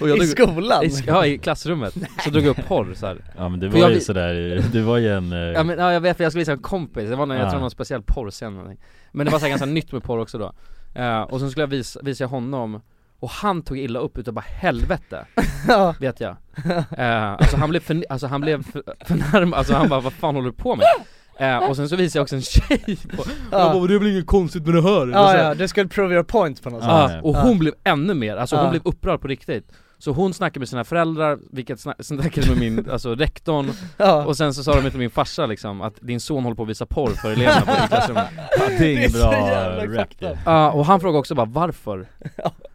Speaker 1: och jag
Speaker 3: I
Speaker 1: drog,
Speaker 3: skolan?
Speaker 1: I, sk- ja i klassrummet, så drog jag upp porr så här.
Speaker 3: Ja men du
Speaker 1: För
Speaker 3: var
Speaker 1: jag
Speaker 3: ju
Speaker 1: vi-
Speaker 3: sådär, i- du var ju en... eh,
Speaker 1: Ja men ja, jag vet för jag skulle visa en kompis, det var någon, jag
Speaker 3: Ja.
Speaker 1: tror någon speciell porrscen eller någonting. Men det var så här ganska nytt med porr också då Eh, Och sen skulle jag visa, visa honom och han tog illa upp utav bara helvete, vet jag Eh, Alltså han blev, för, alltså han blev för, förnärmad, alltså han bara vad fan håller du på med? Eh, och sen så visade jag också en tjej på, och jag bara, "Men det är väl inget konstigt med det här? Och
Speaker 2: Ja
Speaker 1: så-
Speaker 2: ja, du skulle prove your point på något sätt
Speaker 1: Ja, och hon
Speaker 2: Ja.
Speaker 1: blev ännu mer, alltså
Speaker 2: Ja.
Speaker 1: hon blev upprörd på riktigt Så hon snackade med sina föräldrar, vilket snack, snackade med min, alltså rektorn
Speaker 2: Ja.
Speaker 1: Och sen så sa de till min farsa liksom att din son håller på att visa porr för eleverna på i klassrummet
Speaker 2: Ja, det är Det är ingen så bra jävla rap,
Speaker 1: Ja och han frågade också bara varför?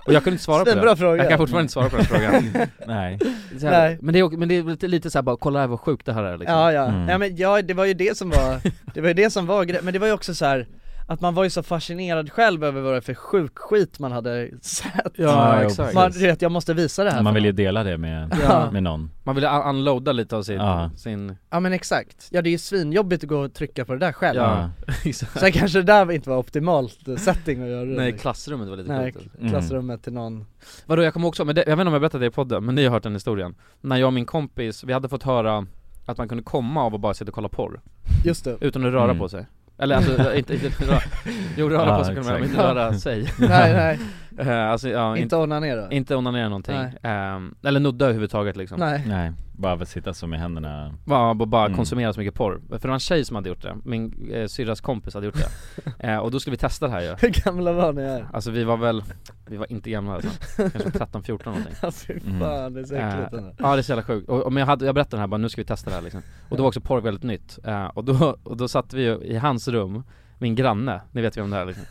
Speaker 1: Och jag kunde inte svara på det
Speaker 2: Svinbra fråga.
Speaker 1: Jag kan fortfarande inte svara på den frågan
Speaker 3: Nej.
Speaker 1: Så här,
Speaker 2: Nej.
Speaker 1: Men det är, men det är lite, lite såhär bara, kolla här vad sjukt det här är liksom
Speaker 2: Ja ja, ja men ja, det var ju det som var, det var ju det som var gre- men det var ju också så här att man var ju så fascinerad själv över vad det för sjuk skit man hade sett
Speaker 3: Ja, jo, exakt.
Speaker 2: Man, du vet, jag måste visa det här
Speaker 3: Man
Speaker 2: för
Speaker 3: vill ju
Speaker 2: någon.
Speaker 3: dela det med,
Speaker 2: Ja.
Speaker 3: med någon
Speaker 1: Man ville un- unloada lite av sin,
Speaker 3: Ja.
Speaker 1: sin
Speaker 2: Ja men exakt, ja det är ju svinjobbigt att gå och trycka på det där själv
Speaker 1: Ja,
Speaker 2: Så
Speaker 1: exakt.
Speaker 2: här kanske det där inte var optimalt eh, setting att göra det
Speaker 1: Nej mm.
Speaker 2: i.
Speaker 1: klassrummet var lite
Speaker 2: Nej,
Speaker 1: sjukt alltså.
Speaker 2: k- klassrummet till någon
Speaker 1: Vadå jag kommer också, men det, jag vet inte om jag berättade det i podden, men ni har hört den historien När jag och min kompis, vi hade fått höra att man kunde komma av att bara sitta och kolla porr
Speaker 2: Just det.
Speaker 1: Utan att röra
Speaker 2: Mm.
Speaker 1: på sig Eller alltså, inte, inte röra, jo röra
Speaker 2: Ja,
Speaker 1: på sig kunde man men inte
Speaker 2: exakt.
Speaker 1: röra sig
Speaker 2: Nej, nej.
Speaker 1: Eh, alltså, ja,
Speaker 2: Inte onanera.
Speaker 1: Inte onanera någonting, Ehm, eller nudda överhuvudtaget liksom
Speaker 2: Nej.
Speaker 3: Nej, bara att sitta så med händerna
Speaker 1: bara, bara- bara
Speaker 3: Mm.
Speaker 1: konsumera så mycket porr. För det var en tjej som hade gjort det, min eh, syrras kompis hade gjort det. eh, och då skulle vi testa det här ju.
Speaker 2: Hur gamla var ni här?
Speaker 1: Alltså vi var väl, vi var inte gamla alltså. kanske 13, 14 någonting
Speaker 2: Alltså, fy
Speaker 1: Mm.
Speaker 2: fan, det är så äckligt,
Speaker 1: Eh,
Speaker 2: ändå.
Speaker 1: Ja det är så jävla sjukt, och, och, men jag, hade, jag berättade den här bara, nu ska vi testa det här liksom Och då var också porr väldigt nytt, eh, och, då, och då satt vi ju i hans rum, min granne, ni vet ju om det här liksom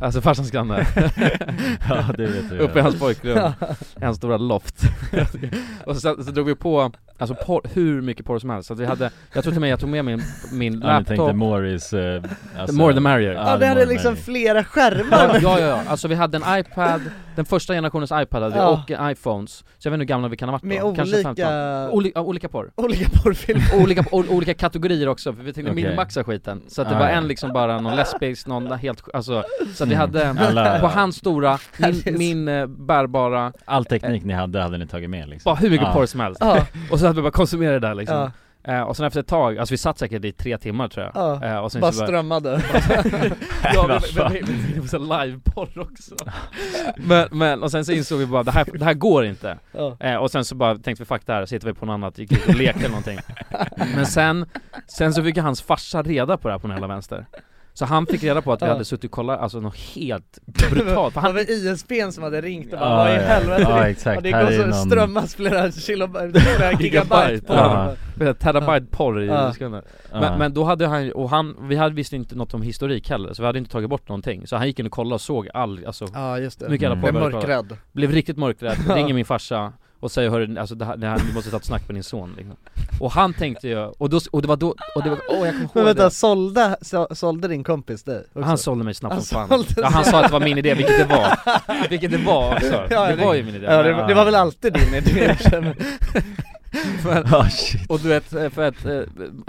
Speaker 1: Alltså farsans granne
Speaker 3: Ja, det vet vi.
Speaker 1: Uppe i hans pojkrum,
Speaker 3: Ja.
Speaker 1: i hans stora loft Och så, så drog vi på Alltså porr, hur mycket porr som helst, så att vi hade, jag tror till och med jag tog med min, min
Speaker 3: Ja, ni
Speaker 1: laptop
Speaker 3: tänkte more is... eh, alltså-
Speaker 1: The more the merrier
Speaker 3: Ja, the more the merrier.
Speaker 2: liksom flera
Speaker 1: Ja,
Speaker 2: skärmar
Speaker 1: ja, ja, alltså vi hade en iPad, den första generationens iPad hade vi
Speaker 2: Ja.
Speaker 1: och iPhones, så jag vet inte hur gamla vi kan ha varit
Speaker 2: Med
Speaker 1: då, kanske
Speaker 2: olika-
Speaker 1: 15 Oli, ja, olika porr
Speaker 2: Olika porrfilmer
Speaker 1: Olika, o, olika kategorier också, för vi tänkte
Speaker 3: Okej.
Speaker 1: minimaxa skiten Så att det
Speaker 3: Ah,
Speaker 1: var
Speaker 3: ja.
Speaker 1: en liksom bara någon lesbisk, någon helt, alltså Så att vi
Speaker 3: Mm.
Speaker 1: hade,
Speaker 3: Alla-
Speaker 1: på hans stora, min,
Speaker 3: Alice.
Speaker 1: min eh, bärbara
Speaker 3: All teknik ni hade, hade ni tagit med liksom?
Speaker 1: Bara hur mycket
Speaker 3: Ja.
Speaker 1: porr som helst. Och så hade vi bara konsumerat det där liksom.
Speaker 3: Ja.
Speaker 1: Eh, och sen efter ett tag, alltså vi satt säkert i tre timmar tror jag.
Speaker 2: Ja.
Speaker 1: Eh, och sen
Speaker 2: Bara
Speaker 1: så
Speaker 2: strömmade.
Speaker 1: ja, vi- vi- vi vi- vi såg liveporr också. men, men, och sen så insåg vi bara det här, det här går inte.
Speaker 2: Ja.
Speaker 1: Eh, och sen så bara tänkte vi fuck det här, så hittade vi på något annat, gick ut och lekte någonting. Men sen, sen så fick ju hans farsa reda på det här på den hela vänster. Så han fick reda på att vi
Speaker 2: Ja.
Speaker 1: hade suttit och kollat, alltså något helt brutalt.
Speaker 2: Det var väl ISPn som hade ringt och bara
Speaker 1: Ja,
Speaker 2: vad i
Speaker 1: ja.
Speaker 2: helvete
Speaker 1: Ja,
Speaker 2: Det-
Speaker 1: exakt.
Speaker 2: och det
Speaker 1: Här
Speaker 2: går
Speaker 1: är
Speaker 2: så
Speaker 1: någon-
Speaker 2: strömmas flera kilobyte, flera gigabyte på
Speaker 1: ja. Flera terabyte porr i
Speaker 2: Ja.
Speaker 1: sekunder
Speaker 2: Ja.
Speaker 1: men, men då hade han ju- och han, vi hade visste inte något om historik heller så vi hade inte tagit bort någonting Så han gick in och kollade och såg all, alltså
Speaker 2: Ja, just det.
Speaker 1: mycket alla
Speaker 2: Mm.
Speaker 1: porr vi
Speaker 2: Blev
Speaker 1: hade kollat.
Speaker 2: mörkrädd.
Speaker 1: Blev riktigt mörkrädd,
Speaker 2: Ja.
Speaker 1: ringer min farsa och säger hörru, alltså det här, det här, du måste ta ett snack med din son liksom. Och han tänkte ju, och, då, och det var då, och det var, åh jag kommer ihåg
Speaker 2: Men vänta,
Speaker 1: det
Speaker 2: sålde, så- sålde din kompis dig? också?
Speaker 1: Han sålde mig snabbt som fan
Speaker 2: sålde
Speaker 1: ja, Han sa att det var min idé, vilket det var Vilket det var också,
Speaker 2: Ja,
Speaker 1: det
Speaker 2: det-
Speaker 1: var ju min idé
Speaker 2: ja, det var- det var väl alltid din idé, känner
Speaker 1: Men,
Speaker 2: Ah, shit.
Speaker 1: Och du vet, eh, för att eh,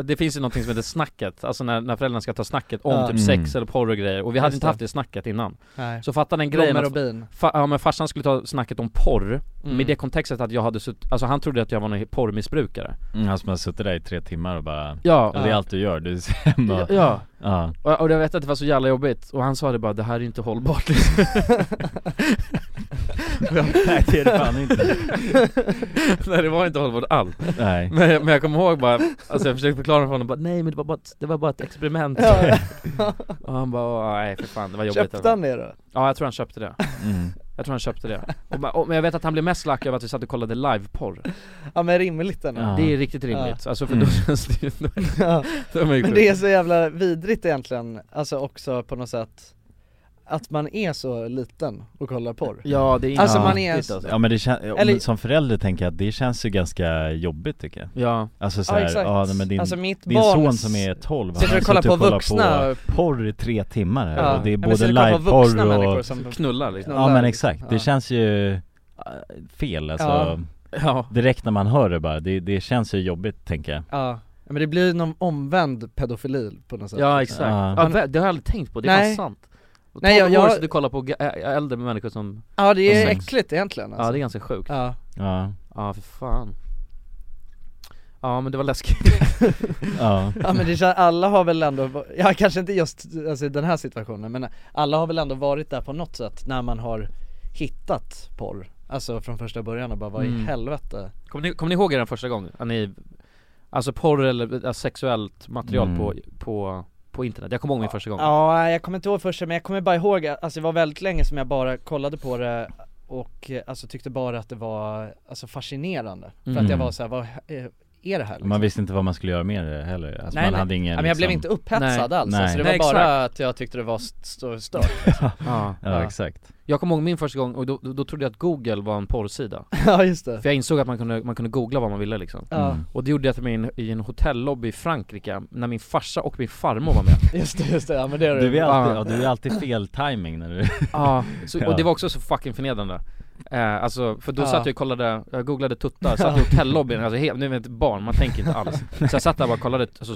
Speaker 1: det finns ju någonting som heter snacket, alltså när, när föräldrarna ska ta snacket om
Speaker 2: Ja.
Speaker 1: typ sex
Speaker 2: Mm.
Speaker 1: eller porr och grejer Och vi hade
Speaker 2: Just
Speaker 1: inte
Speaker 2: det.
Speaker 1: haft det snacket innan
Speaker 2: Nej.
Speaker 1: Så fatta den grejen
Speaker 2: Blommor
Speaker 1: att-
Speaker 2: och bin.
Speaker 1: fa, Ja men farsan skulle ta snacket om porr,
Speaker 2: Mm.
Speaker 1: med det kontextet att jag hade sutt, alltså han trodde att jag var någon porrmissbrukare
Speaker 3: Mm, han som har suttit där i tre timmar och bara...
Speaker 1: Ja.
Speaker 3: Och det är allt du gör, du är hemma och-
Speaker 1: Ja,
Speaker 3: ja.
Speaker 1: Och, och jag vet att det var så jävla jobbigt, och han sa det bara 'det här är inte hållbart' liksom. Och jag-
Speaker 3: Nej, det är det fan inte.
Speaker 1: Nej det var inte hållbart alls
Speaker 3: Nej.
Speaker 1: men, men jag kommer ihåg bara, alltså jag försökte förklara för honom bara 'nej men det var bara ett, det var bara ett experiment'
Speaker 2: Ja.
Speaker 1: Och han bara "Åh, nej för fan det var jobbigt alltså."
Speaker 2: Köpte han det då?
Speaker 1: Ja jag tror han köpte det
Speaker 3: Mm.
Speaker 1: Jag tror han köpte det, och, ba- och, men jag vet att han blev mest lack över att vi satt och kollade liveporr
Speaker 2: Ja men rimligt ändå
Speaker 1: Det är riktigt rimligt, alltså för då känns det ju... Då,
Speaker 2: Ja.
Speaker 1: då är man ju
Speaker 2: Men
Speaker 1: sjuk.
Speaker 2: det är så jävla vidrigt egentligen, alltså också på något sätt Att man är så liten och kollar porr
Speaker 1: Ja, det är
Speaker 2: Alltså
Speaker 3: Ja.
Speaker 2: man är
Speaker 3: Ja men det känns,
Speaker 2: Eller-
Speaker 3: som förälder tänker jag att det känns ju ganska jobbigt tycker jag
Speaker 1: Ja
Speaker 3: Alltså
Speaker 2: Ja,
Speaker 3: såhär, ja,
Speaker 2: exakt.
Speaker 3: nej, men din,
Speaker 2: Alltså, mitt
Speaker 3: din son
Speaker 2: barns-
Speaker 3: som är 12
Speaker 2: Sitter och
Speaker 3: har
Speaker 2: kollar
Speaker 3: suttit
Speaker 2: på
Speaker 3: och kollat
Speaker 2: vuxna-
Speaker 3: på porr i tre timmar här
Speaker 2: Ja.
Speaker 3: och det är
Speaker 2: Ja, men
Speaker 3: både
Speaker 2: sitter och kollar på vuxna
Speaker 3: liveporr
Speaker 2: människor
Speaker 3: och
Speaker 2: som-
Speaker 1: Knullar liksom.
Speaker 3: Ja men
Speaker 1: knullar,
Speaker 3: exakt,
Speaker 1: liksom.
Speaker 3: det
Speaker 1: Ja.
Speaker 3: känns ju äh, fel alltså
Speaker 2: Ja. Ja.
Speaker 3: Direkt när man hör det bara, det, det känns ju jobbigt tänker jag
Speaker 2: Ja, men det blir någon omvänd pedofili på något sätt
Speaker 1: Ja exakt,
Speaker 3: Ja.
Speaker 1: ja. vä- det har jag aldrig tänkt på, det är
Speaker 2: Nej.
Speaker 1: fan sant
Speaker 2: Nej,
Speaker 1: Nej,
Speaker 2: jag-
Speaker 1: jag, år
Speaker 2: jag-
Speaker 1: så du kollar på ga- ä- äldre människor som
Speaker 2: Ja det är
Speaker 1: som-
Speaker 2: äckligt egentligen alltså.
Speaker 1: Ja det är ganska sjukt
Speaker 2: Ja.
Speaker 3: Ja
Speaker 1: Ja för fan Ja men det var läskigt
Speaker 3: Ja.
Speaker 2: Ja men det känns, alla har väl ändå, ja kanske inte just alltså, i den här situationen men alla har väl ändå varit där på något sätt när man har hittat porr Alltså från första början och bara vad i
Speaker 1: Mm.
Speaker 2: helvete
Speaker 1: Kommer ni, kommer ni ihåg er den första gången? Att ni, alltså porr eller äh, sexuellt material
Speaker 2: Mm.
Speaker 1: på, på, på internet? Jag kommer ihåg min första gång
Speaker 2: Ja, jag kommer inte ihåg första men jag kommer bara ihåg, alltså det var väldigt länge som jag bara kollade på det och eh, alltså tyckte bara att det var alltså fascinerande För att jag
Speaker 3: Mm.
Speaker 2: var såhär, vad eh, är det här liksom?
Speaker 3: Man visste inte vad man skulle göra med det heller, alltså man hade ingen
Speaker 2: Ja, men jag blev
Speaker 3: liksom-
Speaker 2: inte upphetsad alls, alltså, det var
Speaker 1: Nej,
Speaker 2: bara
Speaker 1: exakt.
Speaker 2: att jag tyckte det var st- st- stört
Speaker 1: Ja,
Speaker 3: Ja, exakt.
Speaker 1: Jag kommer ihåg min första gång och då, då, då trodde jag att google var en porrsida
Speaker 2: Ja, just det.
Speaker 1: För jag insåg att man kunde, man kunde googla vad man ville liksom
Speaker 2: Ja. Mm.
Speaker 1: Och det gjorde jag till min, i en hotellobby i Frankrike när min farsa och min farmor var med
Speaker 2: Just det, just det, ja men det har
Speaker 3: Du är alltid, ja, du är alltid fel timing när du
Speaker 1: Ja, så, och det var också så fucking förnedrande Eh, alltså, för då
Speaker 3: Ja.
Speaker 1: satt jag och kollade, jag googlade tuttar, satt i
Speaker 3: Ja.
Speaker 1: hotellobbyn, alltså helt, nu är jag ett barn, man tänker inte alls Så jag satt där och bara kollade, alltså,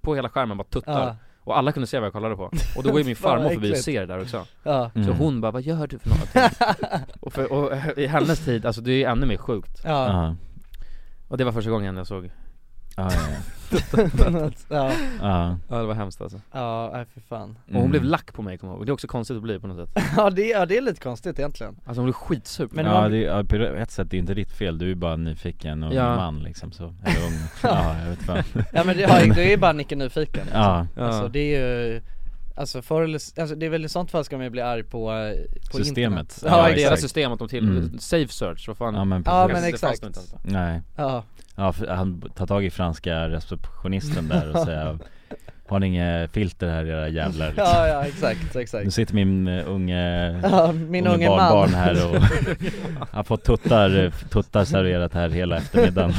Speaker 1: på hela skärmen bara tuttar
Speaker 2: Ja.
Speaker 1: Och alla kunde se vad jag kollade på, och då går ju min
Speaker 2: Fan, vad
Speaker 1: farmor förbi och
Speaker 2: äckligt.
Speaker 1: ser det där också
Speaker 2: Ja.
Speaker 1: Så
Speaker 2: Mm.
Speaker 1: hon bara, vad gör du för någonting? och, för, och i hennes tid, alltså det är ju ännu mer sjukt
Speaker 2: Ja. Ja.
Speaker 1: Och det var första gången jag såg
Speaker 3: Ja,
Speaker 1: tuttar.
Speaker 2: Ja.
Speaker 3: Ja.
Speaker 1: ja det var hemskt alltså
Speaker 2: Ja, nej för fan
Speaker 1: Och
Speaker 3: Mm.
Speaker 1: hon blev lack på mig kommer jag ihåg, det är också konstigt att bli på något sätt
Speaker 2: ja, det, ja det är lite konstigt egentligen
Speaker 1: Alltså hon blev skitsur på
Speaker 2: Men
Speaker 1: mig.
Speaker 3: ja, det, ja, på ett sätt det är inte ditt fel, du är bara nyfiken och
Speaker 1: Ja.
Speaker 3: man liksom så, eller ung, ja jag vet fan
Speaker 2: Ja men det, ja, det är ju bara Nicke Nyfiken liksom.
Speaker 3: Ja.
Speaker 2: Alltså
Speaker 3: Ja.
Speaker 2: det är ju Alltså förr eller s- alltså det är väl i sånt fall ska man ju bli arg på, eh, på
Speaker 3: Systemet.
Speaker 2: internet
Speaker 3: Ja,
Speaker 1: Ja, det är
Speaker 3: exakt.
Speaker 1: deras system att de till,
Speaker 3: Mm.
Speaker 1: safe search, vad fan
Speaker 3: Ja men,
Speaker 2: Ja,
Speaker 3: precis.
Speaker 2: men exakt.
Speaker 3: Nej
Speaker 2: Ja.
Speaker 3: Ja, för han tar tag i franska receptionisten där och säger Har ni inget filter här era jävlar? Liksom.
Speaker 2: Ja, ja, exakt, exakt.
Speaker 3: Nu sitter min eh, unge,
Speaker 2: Ja, min unge man.
Speaker 3: eh, barnbarn här och Han får tuttar, tuttar serverat här hela eftermiddagen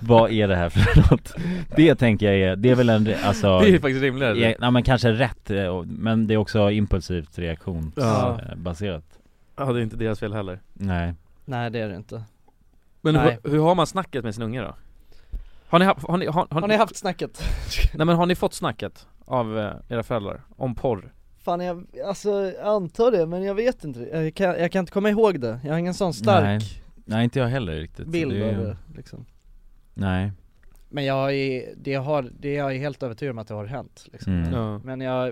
Speaker 3: Vad är det här för något? Det tänker jag är, det är väl en, alltså
Speaker 1: Det är ju faktiskt rimligare.
Speaker 3: Ja, nej, men kanske rätt, eh, och- men det är också impulsivt eh,
Speaker 1: Ja.
Speaker 3: reaktionsbaserat
Speaker 1: Ja det är inte deras fel heller
Speaker 3: Nej
Speaker 2: Nej det är det inte
Speaker 1: Men
Speaker 2: Nej.
Speaker 1: hur, hur har man snacket med sin unge då? Har ni, haft- har ni, har,
Speaker 2: Har ni haft snacket?
Speaker 1: Nej men har ni fått snacket av eh, era föräldrar om porr?
Speaker 2: Fan jag, alltså jag antar det men jag vet inte jag kan, jag kan inte komma ihåg det, jag har ingen sån stark
Speaker 3: Nej, nej inte jag heller riktigt Så
Speaker 2: bild
Speaker 3: det är-
Speaker 2: av det liksom
Speaker 3: Nej
Speaker 2: Men jag är, det har, det jag är helt övertygad om att det har hänt liksom.
Speaker 3: Mm.
Speaker 1: Ja.
Speaker 2: Men jag,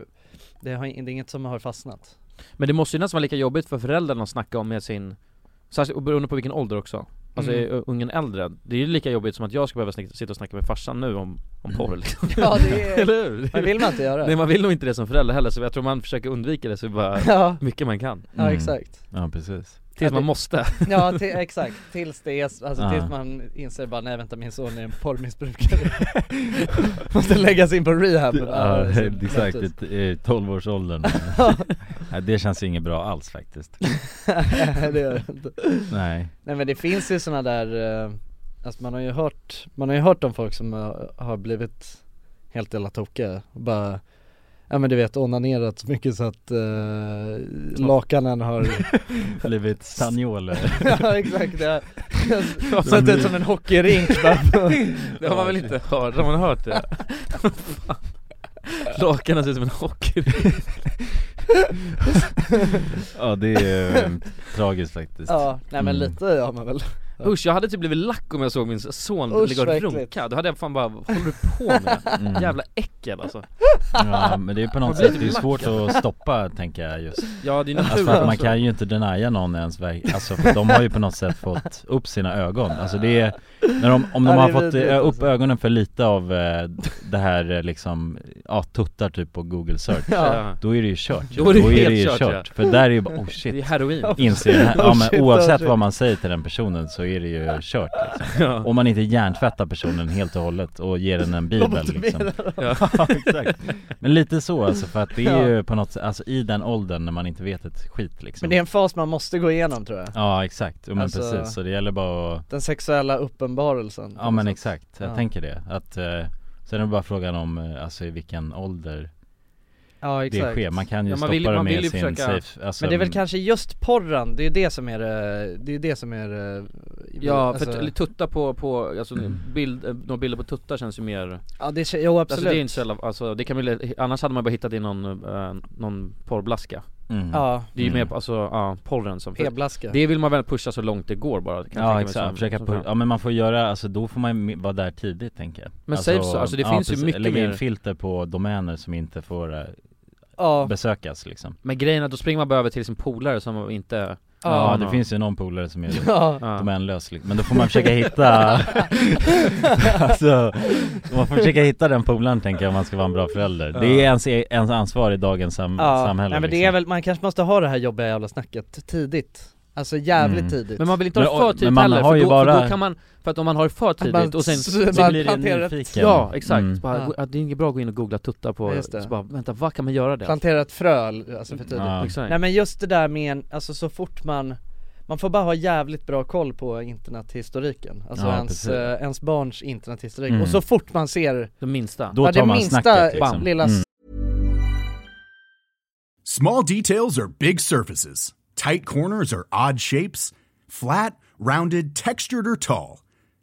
Speaker 2: det, har, det är inget som har fastnat
Speaker 1: Men det måste ju nästan vara lika jobbigt för föräldrarna att snacka om med sin Särskilt och beroende på vilken ålder också Alltså
Speaker 2: Mm.
Speaker 1: är ungen äldre, det är ju lika jobbigt som att jag ska behöva snick- sitta och snacka med farsan nu om, om porr liksom.
Speaker 2: Ja, det är-
Speaker 1: Eller hur?
Speaker 2: Men vill man inte göra det?
Speaker 1: Nej man vill nog inte det som förälder heller så jag tror man försöker undvika det så bara
Speaker 2: Ja.
Speaker 1: mycket man kan
Speaker 2: Ja, Mm. exakt.
Speaker 3: Ja precis
Speaker 1: Tills man måste
Speaker 2: Ja ti- exakt, tills det är, alltså
Speaker 1: Ja.
Speaker 2: tills man inser bara nej vänta min son är en porrmissbrukare Måste läggas in på rehab
Speaker 3: Ja,
Speaker 2: så-
Speaker 3: exakt,
Speaker 2: precis.
Speaker 3: i- i 12-årsåldern Nej, Det känns ju inget bra alls faktiskt
Speaker 2: Nej det gör det inte
Speaker 3: Nej.
Speaker 2: Nej men det finns ju sådana där, eh, alltså man har ju hört, man har ju hört om folk som eh, har blivit helt jävla tokiga och bara Ja men du vet onanerat så mycket så att eh, lakanen har
Speaker 3: Blivit sanjoler
Speaker 2: Ja exakt, det har sett ut som en hockeyrink bara.
Speaker 1: Det har man väl inte hört? Har man hört det? Fan. Lakanen ser ut som en hockey
Speaker 3: Ja det är eh, tragiskt faktiskt
Speaker 2: Ja, nej men
Speaker 3: Mm.
Speaker 2: lite har man väl
Speaker 1: Usch jag hade typ blivit lack om jag såg min son
Speaker 2: Usch,
Speaker 1: ligga
Speaker 2: vad
Speaker 1: och
Speaker 2: äckligt.
Speaker 1: runka, då hade jag fan bara, vad håller du på med?
Speaker 3: Mm.
Speaker 1: Jävla äckel alltså
Speaker 3: Ja men det är på något
Speaker 1: Man blir
Speaker 3: sätt, det är
Speaker 1: typ
Speaker 3: svårt
Speaker 1: lack.
Speaker 3: att stoppa tänker jag just
Speaker 1: Ja, det
Speaker 3: Alltså
Speaker 1: är naturligt
Speaker 3: för att man
Speaker 1: också.
Speaker 3: kan ju inte denia någon ens verk, alltså för de har ju på något sätt fått upp sina ögon Alltså det är, när de, om de
Speaker 2: Ja, det
Speaker 3: har
Speaker 2: är
Speaker 3: fått
Speaker 2: vidrigt
Speaker 3: eh, upp
Speaker 2: alltså.
Speaker 3: ögonen för lite av eh, det här eh, liksom, ja tuttar typ på google search
Speaker 1: Ja.
Speaker 3: Då är det ju kört ju.
Speaker 1: Då är det helt kört, ja.
Speaker 3: För där är ju bara, oh shit
Speaker 1: Det är heroin.
Speaker 3: Inser den här,
Speaker 1: Oh
Speaker 3: ja
Speaker 1: shit,
Speaker 3: men
Speaker 1: oh
Speaker 3: oavsett
Speaker 1: shit.
Speaker 3: vad man säger till den personen så är det ju kört liksom.
Speaker 1: Ja.
Speaker 3: Om man inte hjärntvättar personen helt och hållet och ger den en bibel liksom
Speaker 1: Ja.
Speaker 3: Ja, exakt Men lite så alltså för att det är
Speaker 2: Ja.
Speaker 3: ju på något sätt, alltså i den åldern när man inte vet ett skit liksom
Speaker 2: Men det är en fas man måste gå igenom tror jag
Speaker 3: Ja exakt, Jo, men
Speaker 2: Alltså-
Speaker 3: precis så det gäller bara att
Speaker 2: Den sexuella uppenbarelsen
Speaker 3: Ja men exakt, jag
Speaker 2: Ja.
Speaker 3: tänker det att eh, Sen är det bara frågan om eh, alltså i vilken ålder
Speaker 2: Ja exakt
Speaker 3: Det sker, man kan ju
Speaker 2: Ja,
Speaker 3: stoppa det med sin safe alltså,
Speaker 2: Men det är väl kanske just porren, det är ju det som är det, det är ju det som är det,
Speaker 1: Ja,
Speaker 2: alltså-
Speaker 1: för t- tutta på, på alltså bild, eh, några bilder på tuttar känns ju mer
Speaker 2: Ja det, kän- jo absolut
Speaker 1: Alltså det är inte så jävla, alltså det kan bli, lätt- annars hade man bara hittat i någon, eh, någon porrblaska
Speaker 3: Mm.
Speaker 2: Ja.
Speaker 1: Det är ju
Speaker 3: Mm.
Speaker 1: mer, alltså, ja, porren som
Speaker 2: P-blaska.
Speaker 1: Det vill man väl pusha så långt det går bara kan jag tänka
Speaker 3: Ja
Speaker 1: mig
Speaker 3: exakt,
Speaker 1: som-
Speaker 3: försöka
Speaker 1: som
Speaker 3: på,
Speaker 1: fan.
Speaker 3: ja men man får göra, alltså då får man ju vara där tidigt tänker jag
Speaker 1: Men safe så- alltså det finns ju mycket
Speaker 3: lägga in
Speaker 1: mer-
Speaker 3: filter på domäner som inte får eh,
Speaker 2: Ja.
Speaker 3: besökas liksom
Speaker 1: Men grejen är att då springer man bara över till sin polare som inte
Speaker 3: Ja,
Speaker 1: har
Speaker 3: det
Speaker 1: någon-
Speaker 3: finns ju någon polare som är
Speaker 1: Ja.
Speaker 3: domänlös liksom. men då får man försöka hitta alltså, man får försöka hitta den polaren tänker jag om man ska vara en bra förälder Det är ens, e- ens ansvar i dagens sam-
Speaker 2: ja.
Speaker 3: samhälle liksom.
Speaker 2: Nej men det är väl, man kanske måste ha det här jobbiga jävla snacket tidigt Alltså jävligt
Speaker 3: Mm.
Speaker 2: tidigt
Speaker 1: Men man vill inte ha
Speaker 3: Men-
Speaker 1: det för tidigt
Speaker 3: men man
Speaker 1: heller,
Speaker 3: har
Speaker 1: för
Speaker 3: ju
Speaker 1: då, för
Speaker 3: bara-
Speaker 1: då kan man, för att om man har det för tidigt och
Speaker 2: så
Speaker 1: sen
Speaker 2: man blir planterar ett- nyfiken.
Speaker 1: Ja, exakt.
Speaker 2: Mm.
Speaker 1: Bara,
Speaker 2: Ja.
Speaker 1: gå- att Det är inget bra att gå in och googla tuttar
Speaker 2: Ja,
Speaker 1: på,
Speaker 2: just det.
Speaker 1: så bara vänta, vad kan man göra det?
Speaker 2: Plantera ett frö alltså för tidigt
Speaker 1: Ja. Exakt.
Speaker 2: Nej men just det där med, en- alltså så fort man man får bara ha jävligt bra koll på internethistoriken, alltså
Speaker 3: Ja,
Speaker 2: ens,
Speaker 3: precis.
Speaker 2: eh, ens barns internethistorik
Speaker 3: Mm.
Speaker 2: och så fort man ser
Speaker 1: Det minsta,
Speaker 3: Då
Speaker 2: ja,
Speaker 3: tar
Speaker 2: det
Speaker 3: man
Speaker 2: minsta
Speaker 3: snacket, liksom.
Speaker 2: lilla
Speaker 3: Mm.
Speaker 6: Small details are big surfaces. Tight corners are odd shapes. Flat, rounded, textured, or tall.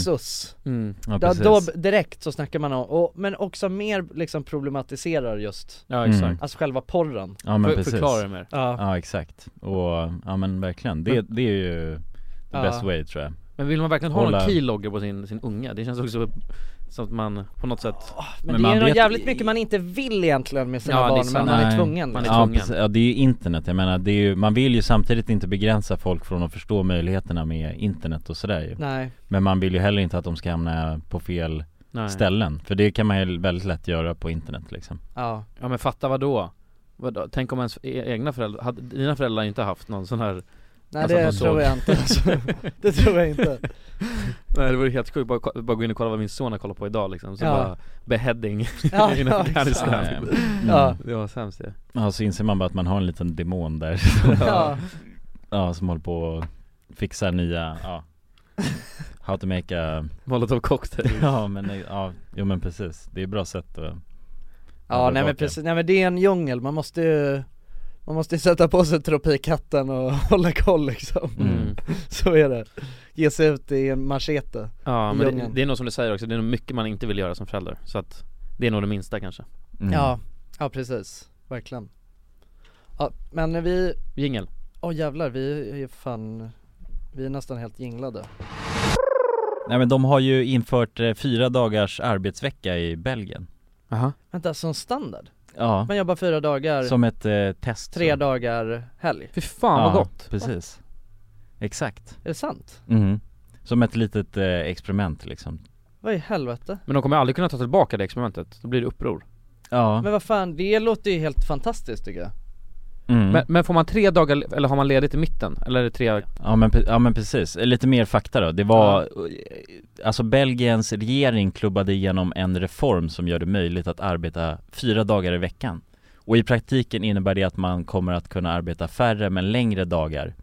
Speaker 2: sus.
Speaker 3: Mm. Ja,
Speaker 2: då,
Speaker 3: precis.
Speaker 2: då direkt så snackar man om, och, men också mer liksom problematiserar just
Speaker 3: Ja, exakt. Mm.
Speaker 2: Alltså själva porren
Speaker 3: Ja men precis
Speaker 2: Ja.
Speaker 3: ja. exakt, och ja men verkligen, det, det är ju the
Speaker 1: Ja.
Speaker 3: best way tror jag
Speaker 1: Men vill man verkligen ha
Speaker 3: Hålla-
Speaker 1: någon keylogger på sin, sin unga? Det känns också som att man på något sätt
Speaker 2: Men, det är nog jävligt mycket man inte vill egentligen med sina
Speaker 1: Ja, det är
Speaker 2: barn
Speaker 1: sant.
Speaker 2: men man är
Speaker 3: Nej.
Speaker 2: tvungen liksom.
Speaker 3: Ja, precis. ja det är ju internet, jag menar det är ju, man vill ju samtidigt inte begränsa folk från att förstå möjligheterna med internet och sådär ju
Speaker 2: Nej.
Speaker 3: Men man vill ju heller inte att de ska hamna på fel
Speaker 1: Nej.
Speaker 3: ställen, för det kan man ju väldigt lätt göra på internet liksom
Speaker 2: Ja
Speaker 1: Ja men fatta vad då? Vadå? Tänk om ens e- egna föräldrar, hade, dina föräldrar inte haft någon sån här
Speaker 2: Nej
Speaker 1: alltså, att
Speaker 2: det
Speaker 1: man
Speaker 2: tror
Speaker 1: såg.
Speaker 2: jag inte alltså. Det tror jag inte
Speaker 1: Nej det vore helt sjukt, bara, ko- bara gå in och kolla vad min son har kollat på idag liksom, så
Speaker 2: Ja.
Speaker 1: bara beheading
Speaker 2: Ja,
Speaker 1: in
Speaker 2: ja,
Speaker 1: Afghanistan
Speaker 2: exakt.
Speaker 1: ja. Det var hemskt det
Speaker 3: Eh, mm. Ja så inser man bara att man har en liten demon där
Speaker 1: Ja.
Speaker 3: ja. ja som håller på och fixar nya, ja How to make a
Speaker 1: Molotov cocktail
Speaker 3: Ja men, ja, jo men precis, det är ett bra sätt att
Speaker 2: Ja nej men precis, nej men det är en djungel, man måste ju Man måste ju sätta på sig tropikhatten och hålla koll liksom
Speaker 1: Mm.
Speaker 2: Så är det Ge sig ut i en
Speaker 3: Mm.
Speaker 2: machete
Speaker 1: Ja
Speaker 2: i
Speaker 1: men det,
Speaker 2: djungeln.
Speaker 1: det är nog som du säger också, det är nog mycket man inte vill göra som förälder Så att det är nog det minsta kanske
Speaker 3: Mm.
Speaker 2: Ja, ja precis, verkligen Ja men vi
Speaker 1: Jingel
Speaker 2: Åh jävlar, vi är ju fan Vi är nästan helt jinglade
Speaker 3: Nej men de har ju infört eh, fyra dagars arbetsvecka i Belgien
Speaker 1: Aha.
Speaker 2: Vänta, som standard?
Speaker 3: Ja,
Speaker 2: Man jobbar fyra dagar,
Speaker 3: som ett eh, test
Speaker 2: tre dagar helg
Speaker 1: Fy fan vad
Speaker 3: ja,
Speaker 1: gott
Speaker 3: precis Exakt
Speaker 2: Är det sant?
Speaker 3: mm. Som ett litet eh, experiment liksom
Speaker 2: Vad i helvete?
Speaker 1: Men de kommer aldrig kunna ta tillbaka det experimentet, då blir det uppror
Speaker 3: Ja,
Speaker 2: Men vad fan, det låter ju helt fantastiskt tycker jag
Speaker 3: Mm.
Speaker 1: men, men får man tre dagar, eller har man ledigt i mitten? Eller är det tre?
Speaker 3: ja men, pre- ja men precis, Eh, lite mer fakta då Det var, eh, alltså Belgiens regering klubbade igenom en reform som gör det möjligt att arbeta fyra dagar i veckan Och i praktiken innebär det att man kommer att kunna arbeta färre men längre dagar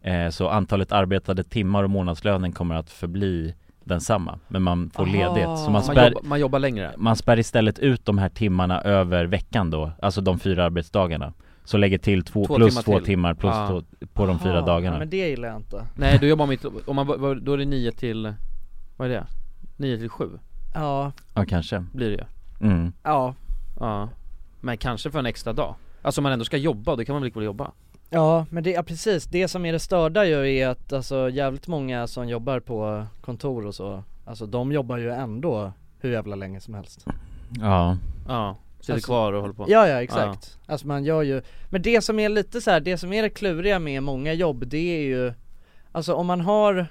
Speaker 3: eh, Så antalet arbetade timmar och månadslönen kommer att förbli densamma Men man får
Speaker 1: Aha.
Speaker 3: ledigt, så man
Speaker 1: Man
Speaker 3: spär,
Speaker 1: jobbar- man jobbar längre.
Speaker 3: Man spär istället ut de här timmarna över veckan då, alltså de fyra arbetsdagarna Så lägger till två,
Speaker 1: Två
Speaker 3: plus
Speaker 1: timmar
Speaker 3: två
Speaker 1: till.
Speaker 3: timmar plus
Speaker 1: Ah.
Speaker 3: två, på de fyra
Speaker 2: Aha,
Speaker 3: dagarna
Speaker 2: Men det gillar jag inte
Speaker 1: Nej då jobbar man inte, om man, vad- då är det nio till, vad är det? Nio till sju
Speaker 2: Ja,
Speaker 3: Ja kanske
Speaker 1: blir det ju
Speaker 3: mm.
Speaker 2: ja
Speaker 1: Ja Men kanske för en extra dag Alltså om man ändå ska jobba, då kan man väl lika väl jobba?
Speaker 2: Ja men det, ja precis, det som är det störda ju är att alltså jävligt många som jobbar på kontor och så Alltså de jobbar ju ändå hur jävla länge som helst
Speaker 3: Ja
Speaker 1: Ja, sitter
Speaker 2: Alltså-
Speaker 1: kvar och håller på
Speaker 2: Ja ja exakt, alltså man gör ju Men det som är lite så här, det som är det kluriga med många jobb det är ju Alltså om man har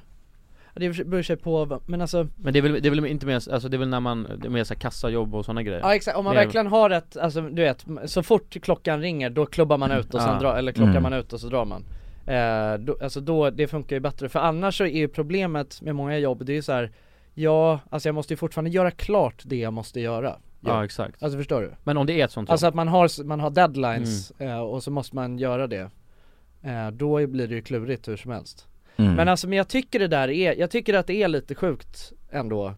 Speaker 2: Det beror sig på, vad- men alltså
Speaker 1: Men det är, väl, det är väl inte mer, alltså det är väl när man, det är mer såhär kassajobb och sådana grejer
Speaker 2: Ja exakt, om man
Speaker 1: Det är-
Speaker 2: verkligen har ett, alltså du vet, så fort klockan ringer då klubbar man ut och sen
Speaker 1: Ja.
Speaker 2: drar, eller klockar
Speaker 1: Mm.
Speaker 2: man ut och så drar man eh, då, Alltså då, det funkar ju bättre, för annars så är ju problemet med många jobb, det är ju så här. Ja, alltså jag måste ju fortfarande göra klart det jag måste göra
Speaker 1: Ja,
Speaker 2: Ja.
Speaker 1: exakt
Speaker 2: Alltså förstår du?
Speaker 1: Men om det är ett sånt
Speaker 2: Alltså
Speaker 1: jobb,
Speaker 2: att man har, man har deadlines
Speaker 1: Mm.
Speaker 2: eh, och så måste man göra det eh, Då blir det ju klurigt hur som helst
Speaker 3: Mm.
Speaker 2: Men alltså men jag tycker det där är, jag tycker att det är lite sjukt ändå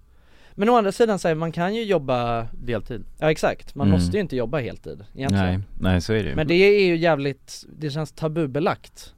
Speaker 2: Men å andra sidan säger man kan ju jobba
Speaker 1: Deltid
Speaker 2: Ja exakt, man
Speaker 3: Mm.
Speaker 2: måste ju inte jobba heltid egentligen
Speaker 3: Nej, nej så är det ju
Speaker 2: Men det är ju jävligt, det känns tabubelagt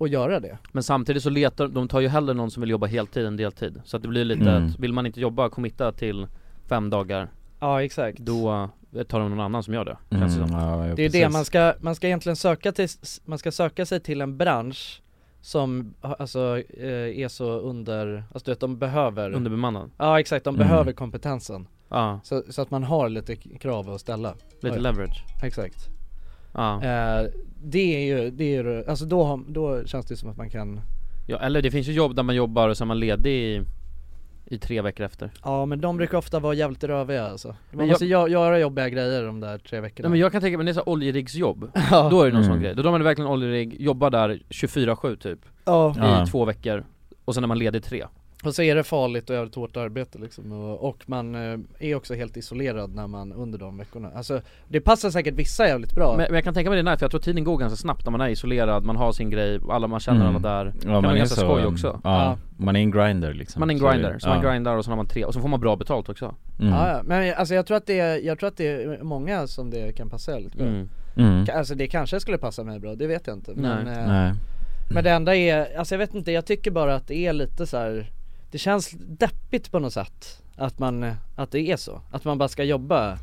Speaker 2: att göra det
Speaker 1: Men samtidigt så letar, de tar ju hellre någon som vill jobba heltid än deltid Så att det blir lite
Speaker 3: Mm.
Speaker 1: att, vill man inte jobba, committa till fem dagar
Speaker 2: Ja exakt
Speaker 1: Då eh, tar de någon annan som gör det,
Speaker 3: Mm,
Speaker 1: känns det som
Speaker 3: ja, ja,
Speaker 2: Det är ju det,
Speaker 3: precis.
Speaker 2: man ska, man ska egentligen söka till, man ska söka sig till en bransch som ha- alltså eh, är så under, alltså du vet de behöver
Speaker 1: Underbemannad
Speaker 2: Ja exakt, de
Speaker 1: Mm.
Speaker 2: behöver kompetensen
Speaker 1: Ja.
Speaker 2: så, så att man har lite k- krav att ställa
Speaker 1: Lite
Speaker 2: Oj.
Speaker 1: leverage
Speaker 2: Exakt
Speaker 1: Ja
Speaker 2: eh, Det är ju, det är ju, alltså då, har- då känns det som att man kan
Speaker 1: Ja eller det finns ju jobb där man jobbar och så är man ledig i, i tre veckor efter
Speaker 2: Ja men de brukar ofta vara jävligt röviga alltså Man
Speaker 1: Men jag-
Speaker 2: måste gö- göra jobbiga grejer de där tre veckorna
Speaker 1: Nej men jag kan tänka mig, det är så här oljeriggsjobb,
Speaker 2: Ja.
Speaker 1: då är det någon
Speaker 2: Mm.
Speaker 1: sån grej, då drar man verkligen oljerigg, jobbar där 24-7 typ
Speaker 2: Ja.
Speaker 1: I
Speaker 2: Ja.
Speaker 1: två veckor och sen när man leder tre.
Speaker 2: Och så är det farligt och jävligt hårt arbete liksom och, och man eh, är också helt isolerad när man under de veckorna Alltså det passar säkert vissa jävligt bra
Speaker 1: Men, men jag kan tänka mig det är nice, för jag tror tiden går ganska snabbt när man är isolerad, man har sin grej, alla man känner
Speaker 3: Mm.
Speaker 1: alla där.
Speaker 3: Ja,
Speaker 1: kan
Speaker 3: man
Speaker 1: vara
Speaker 3: är så,
Speaker 1: ganska skoj
Speaker 3: um,
Speaker 1: också.
Speaker 3: ja, man är en grinder liksom
Speaker 1: Man är en
Speaker 3: Så det-
Speaker 1: grinder, så man
Speaker 3: ja.
Speaker 1: grindar och så har man tre, och så får man bra betalt också.
Speaker 3: Mm.
Speaker 2: Ja, ja, men alltså jag tror att det är, jag tror att det är många som det kan passa jävligt bra
Speaker 1: Mm.
Speaker 3: Mm.
Speaker 2: Ka- Alltså det kanske skulle passa mig bra, det vet jag inte men,
Speaker 3: Nej.
Speaker 2: eh,
Speaker 3: Nej.
Speaker 2: men det enda är, alltså jag vet inte, jag tycker bara att det är lite så här. Det känns deppigt på något sätt Att man, att det är så, att man bara ska jobba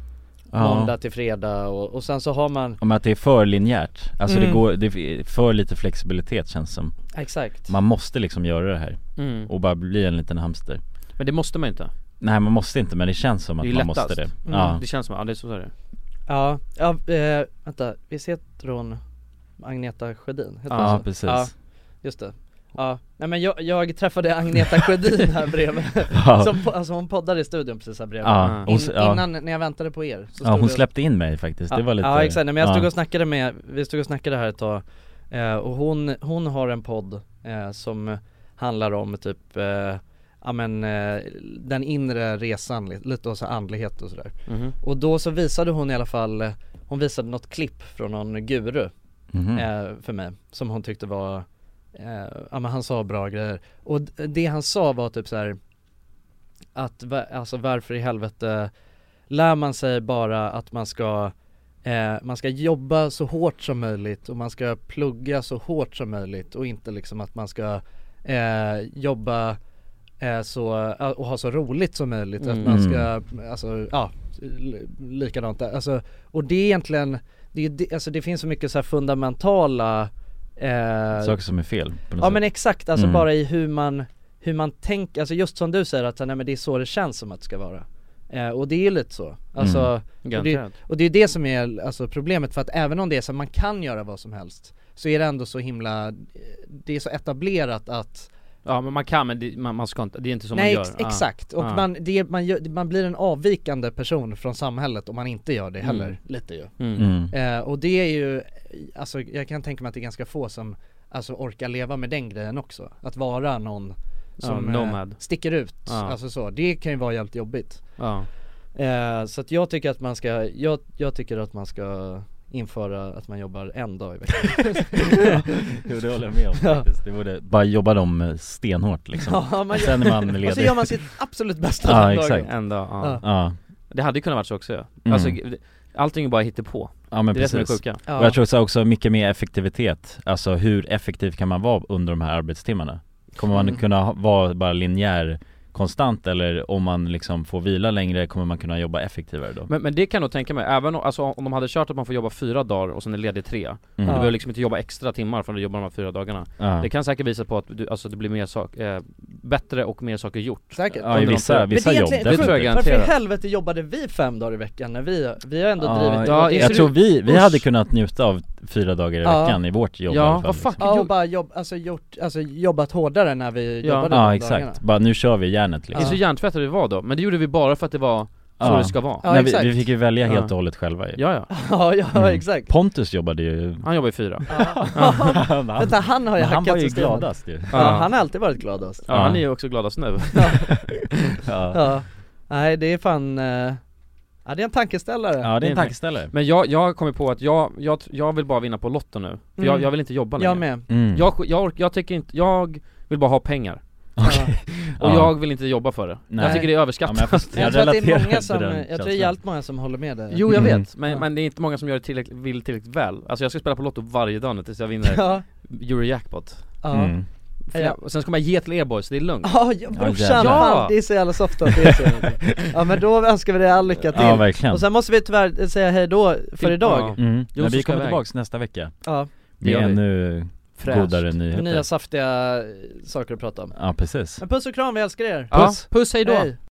Speaker 3: Ja.
Speaker 2: måndag till fredag och, och sen så har man
Speaker 3: Om att det är för linjärt, alltså det
Speaker 2: Mm.
Speaker 3: går, det är för lite flexibilitet känns som
Speaker 2: Exakt.
Speaker 3: Man måste liksom göra det här
Speaker 1: Mm.
Speaker 3: och bara bli en liten hamster
Speaker 1: Men det måste man ju inte.
Speaker 3: Nej man måste inte men det känns som att
Speaker 1: det är
Speaker 3: man
Speaker 1: lättast.
Speaker 3: måste det
Speaker 1: Mm.
Speaker 3: Ja
Speaker 1: Det känns som, ja det är så så är det.
Speaker 2: Ja, ja eh, vänta, vi heter hon Agneta Sjödin? Heter
Speaker 3: Ja,
Speaker 2: hon så?
Speaker 3: precis.
Speaker 2: Ja, just det Ja, nej men jag, jag träffade Agneta Sjödin här bredvid,
Speaker 3: Ja.
Speaker 2: som, po- alltså hon poddade i studion precis här bredvid
Speaker 3: Ja, hon
Speaker 2: In,
Speaker 3: s- ja.
Speaker 2: Innan, när jag väntade på er så
Speaker 3: Ja hon
Speaker 2: vi-
Speaker 3: släppte in mig faktiskt, det var lite
Speaker 2: Ja exakt, Nej, men jag stod
Speaker 3: ja.
Speaker 2: och snackade med, vi stod och snackade här ett tag eh, Och hon, hon har en podd eh, som handlar om typ eh, Ja men eh, den inre resan, li- lite och så här andlighet och sådär
Speaker 1: Mhm.
Speaker 2: Och då så visade hon i alla fall eh, Hon visade något klipp från någon guru
Speaker 3: Mhm.
Speaker 2: eh, för mig Som hon tyckte var eh, Ja men han sa bra grejer Och d- det han sa var typ så här att va- alltså varför i helvete lär man sig bara att man ska eh, man ska jobba så hårt som möjligt och man ska plugga så hårt som möjligt och inte liksom att man ska eh, jobba eh, så, ja, och ha så roligt som möjligt att
Speaker 1: Mm.
Speaker 2: man ska, alltså ja, li- likadant där. Alltså, och det är egentligen, det, är, ju det- alltså det finns så mycket så här fundamentala eh,
Speaker 3: Saker som är fel på något
Speaker 2: Ja
Speaker 3: sätt.
Speaker 2: men exakt, alltså
Speaker 3: Mm.
Speaker 2: bara i hur man, hur man tänker, alltså just som du säger att nej, men det är så det känns som att det ska vara eh, Och det är ju lite så, alltså
Speaker 1: Mm.
Speaker 2: och, det,
Speaker 1: Garanterat.
Speaker 2: och det är det som är alltså, problemet för att även om det är så att man kan göra vad som helst Så är det ändå så himla, eh, det är så etablerat att
Speaker 1: Ja men man kan men det, man, man ska inte, det är inte så
Speaker 2: Nej
Speaker 1: man
Speaker 2: ex-
Speaker 1: gör. Ah,
Speaker 2: exakt, och man, det, man, gör, man blir en avvikande person från samhället om man inte gör det heller,
Speaker 1: Mm.
Speaker 2: lite ju
Speaker 1: Mm. Mm.
Speaker 2: Eh, och det är ju, alltså jag kan tänka mig att det är ganska få som alltså, orkar leva med den grejen också. Att vara någon
Speaker 1: Ja,
Speaker 2: som eh,
Speaker 1: nomad.
Speaker 2: sticker ut,
Speaker 1: Ja.
Speaker 2: alltså så. Det kan ju vara jävligt jobbigt.
Speaker 1: Ja.
Speaker 2: Eh, så att jag tycker att man ska, jag, jag tycker att man ska införa att man jobbar en dag i veckan.
Speaker 3: Jo det håller jag med om faktiskt, det borde bara jobba dem eh, stenhårt liksom
Speaker 2: Ja, man gör-
Speaker 3: Sen är man ledig
Speaker 2: och så gör man sitt absolut bästa
Speaker 3: Ja
Speaker 2: den dagen.
Speaker 3: exakt
Speaker 1: En dag, ja.
Speaker 2: Ja.
Speaker 3: Ja.
Speaker 1: Det hade ju kunnat varit så också ja.
Speaker 3: Mm.
Speaker 1: Alltså, allting är bara hittepå.
Speaker 3: Ja men
Speaker 1: det är
Speaker 3: precis.
Speaker 1: det som är sjuka.
Speaker 3: Och jag tror så också mycket mer effektivitet, alltså hur effektiv kan man vara under de här arbetstimmarna? Kommer man
Speaker 1: Mm.
Speaker 3: kunna ha- vara bara linjär konstant eller om man liksom får vila längre kommer man kunna jobba effektivare då?
Speaker 1: Men, men det kan jag nog tänka mig, även om, alltså, om de hade kört att man får jobba fyra dagar och sen är ledig tre Du
Speaker 3: Ja.
Speaker 1: behöver liksom inte jobba extra timmar från att jobba de här fyra dagarna
Speaker 3: Ja.
Speaker 1: Det kan säkert visa på att du, alltså, det blir mer sak, eh, bättre och mer saker gjort
Speaker 2: Säkert.
Speaker 3: Ja, i vissa-
Speaker 1: Men det är
Speaker 3: vissa jobb,
Speaker 1: egentligen- Det tror jag
Speaker 3: definitivt.
Speaker 2: Varför i
Speaker 1: garanterat
Speaker 2: helvete jobbade vi fem dagar i veckan när vi, vi har ändå
Speaker 3: Ja,
Speaker 2: drivit
Speaker 3: jag,
Speaker 2: det-
Speaker 3: jag tror vi, vi
Speaker 2: Usch.
Speaker 3: hade kunnat njuta av fyra dagar i
Speaker 2: Ja.
Speaker 3: veckan i vårt jobb i alla fall. liksom.
Speaker 2: Ja, och bara jobb, alltså, gjort, alltså, jobbat hårdare när vi
Speaker 1: Ja.
Speaker 2: jobbade
Speaker 3: Ja
Speaker 2: de
Speaker 3: exakt,
Speaker 2: dagarna.
Speaker 3: bara nu kör vi järnet
Speaker 1: Det är
Speaker 3: liksom
Speaker 1: så hjärntvättade vi var då, men det gjorde vi bara för att det var så
Speaker 3: Ja.
Speaker 1: det ska vara
Speaker 3: Nej, vi, vi fick ju välja helt och
Speaker 1: Ja.
Speaker 3: hållet själva ju
Speaker 1: Ja, ja.
Speaker 2: Ja, ja exakt
Speaker 3: Pontus jobbade ju
Speaker 1: Han jobbar ju fyra
Speaker 2: Ja. Vänta, han har ju
Speaker 3: Men han
Speaker 2: hackat
Speaker 3: var ju
Speaker 2: systemet.
Speaker 3: gladast ju.
Speaker 2: Ja,
Speaker 1: Ja.
Speaker 2: han har alltid varit gladast
Speaker 1: Ja, han är ju också gladast nu
Speaker 3: Ja.
Speaker 2: ja. Nej det är fan, eh, ja det är en tankeställare
Speaker 1: Men jag, jag har kommit på att jag, jag, tr- jag vill bara vinna på Lotto nu, för jag,
Speaker 2: Mm.
Speaker 1: jag vill inte jobba längre
Speaker 2: Jag med.
Speaker 3: Mm.
Speaker 1: jag, sk- jag, ork, jag tycker inte, jag vill bara ha pengar Och
Speaker 3: Ja.
Speaker 1: jag vill inte jobba för det, jag
Speaker 3: Nej.
Speaker 1: tycker
Speaker 3: Ja, men
Speaker 1: det är
Speaker 3: jag
Speaker 1: överskattat
Speaker 3: förstår. Jag Jag tror att det är relaterar många till som- den jag tror det är
Speaker 2: Jag tror det är jävligt många som håller med dig
Speaker 1: Jo jag
Speaker 2: Mm.
Speaker 1: vet, men, men det är inte många som gör det tillräckligt, vill tillräckligt väl Alltså jag ska spela på Lotto varje dag nu tills jag vinner
Speaker 2: Ja.
Speaker 1: Eurojackpot
Speaker 2: Ja. Mm.
Speaker 1: För jag- och Sen ska man ge till er boys, det är lugnt
Speaker 2: Ja, ja, brorsan, fan, det är så jävla soft att det är så Ja men då önskar vi dig all lycka till
Speaker 3: Ja, verkligen.
Speaker 2: Och sen måste vi tyvärr säga hej då
Speaker 1: Typ.
Speaker 2: för idag
Speaker 3: Mm.
Speaker 1: Jo,
Speaker 3: Men
Speaker 1: så
Speaker 3: vi
Speaker 1: ska
Speaker 3: kommer
Speaker 1: jag
Speaker 3: tillbaks nästa vecka
Speaker 2: Ja.
Speaker 1: Det
Speaker 3: Med
Speaker 1: gör vi.
Speaker 3: ännu
Speaker 1: Fräscht.
Speaker 3: godare
Speaker 2: Med
Speaker 3: nyheter
Speaker 2: nya saftiga eh, saker att prata om
Speaker 3: Ja precis
Speaker 2: Men puss och kram, vi älskar er!
Speaker 1: Ja, puss, hej då.
Speaker 2: Hej.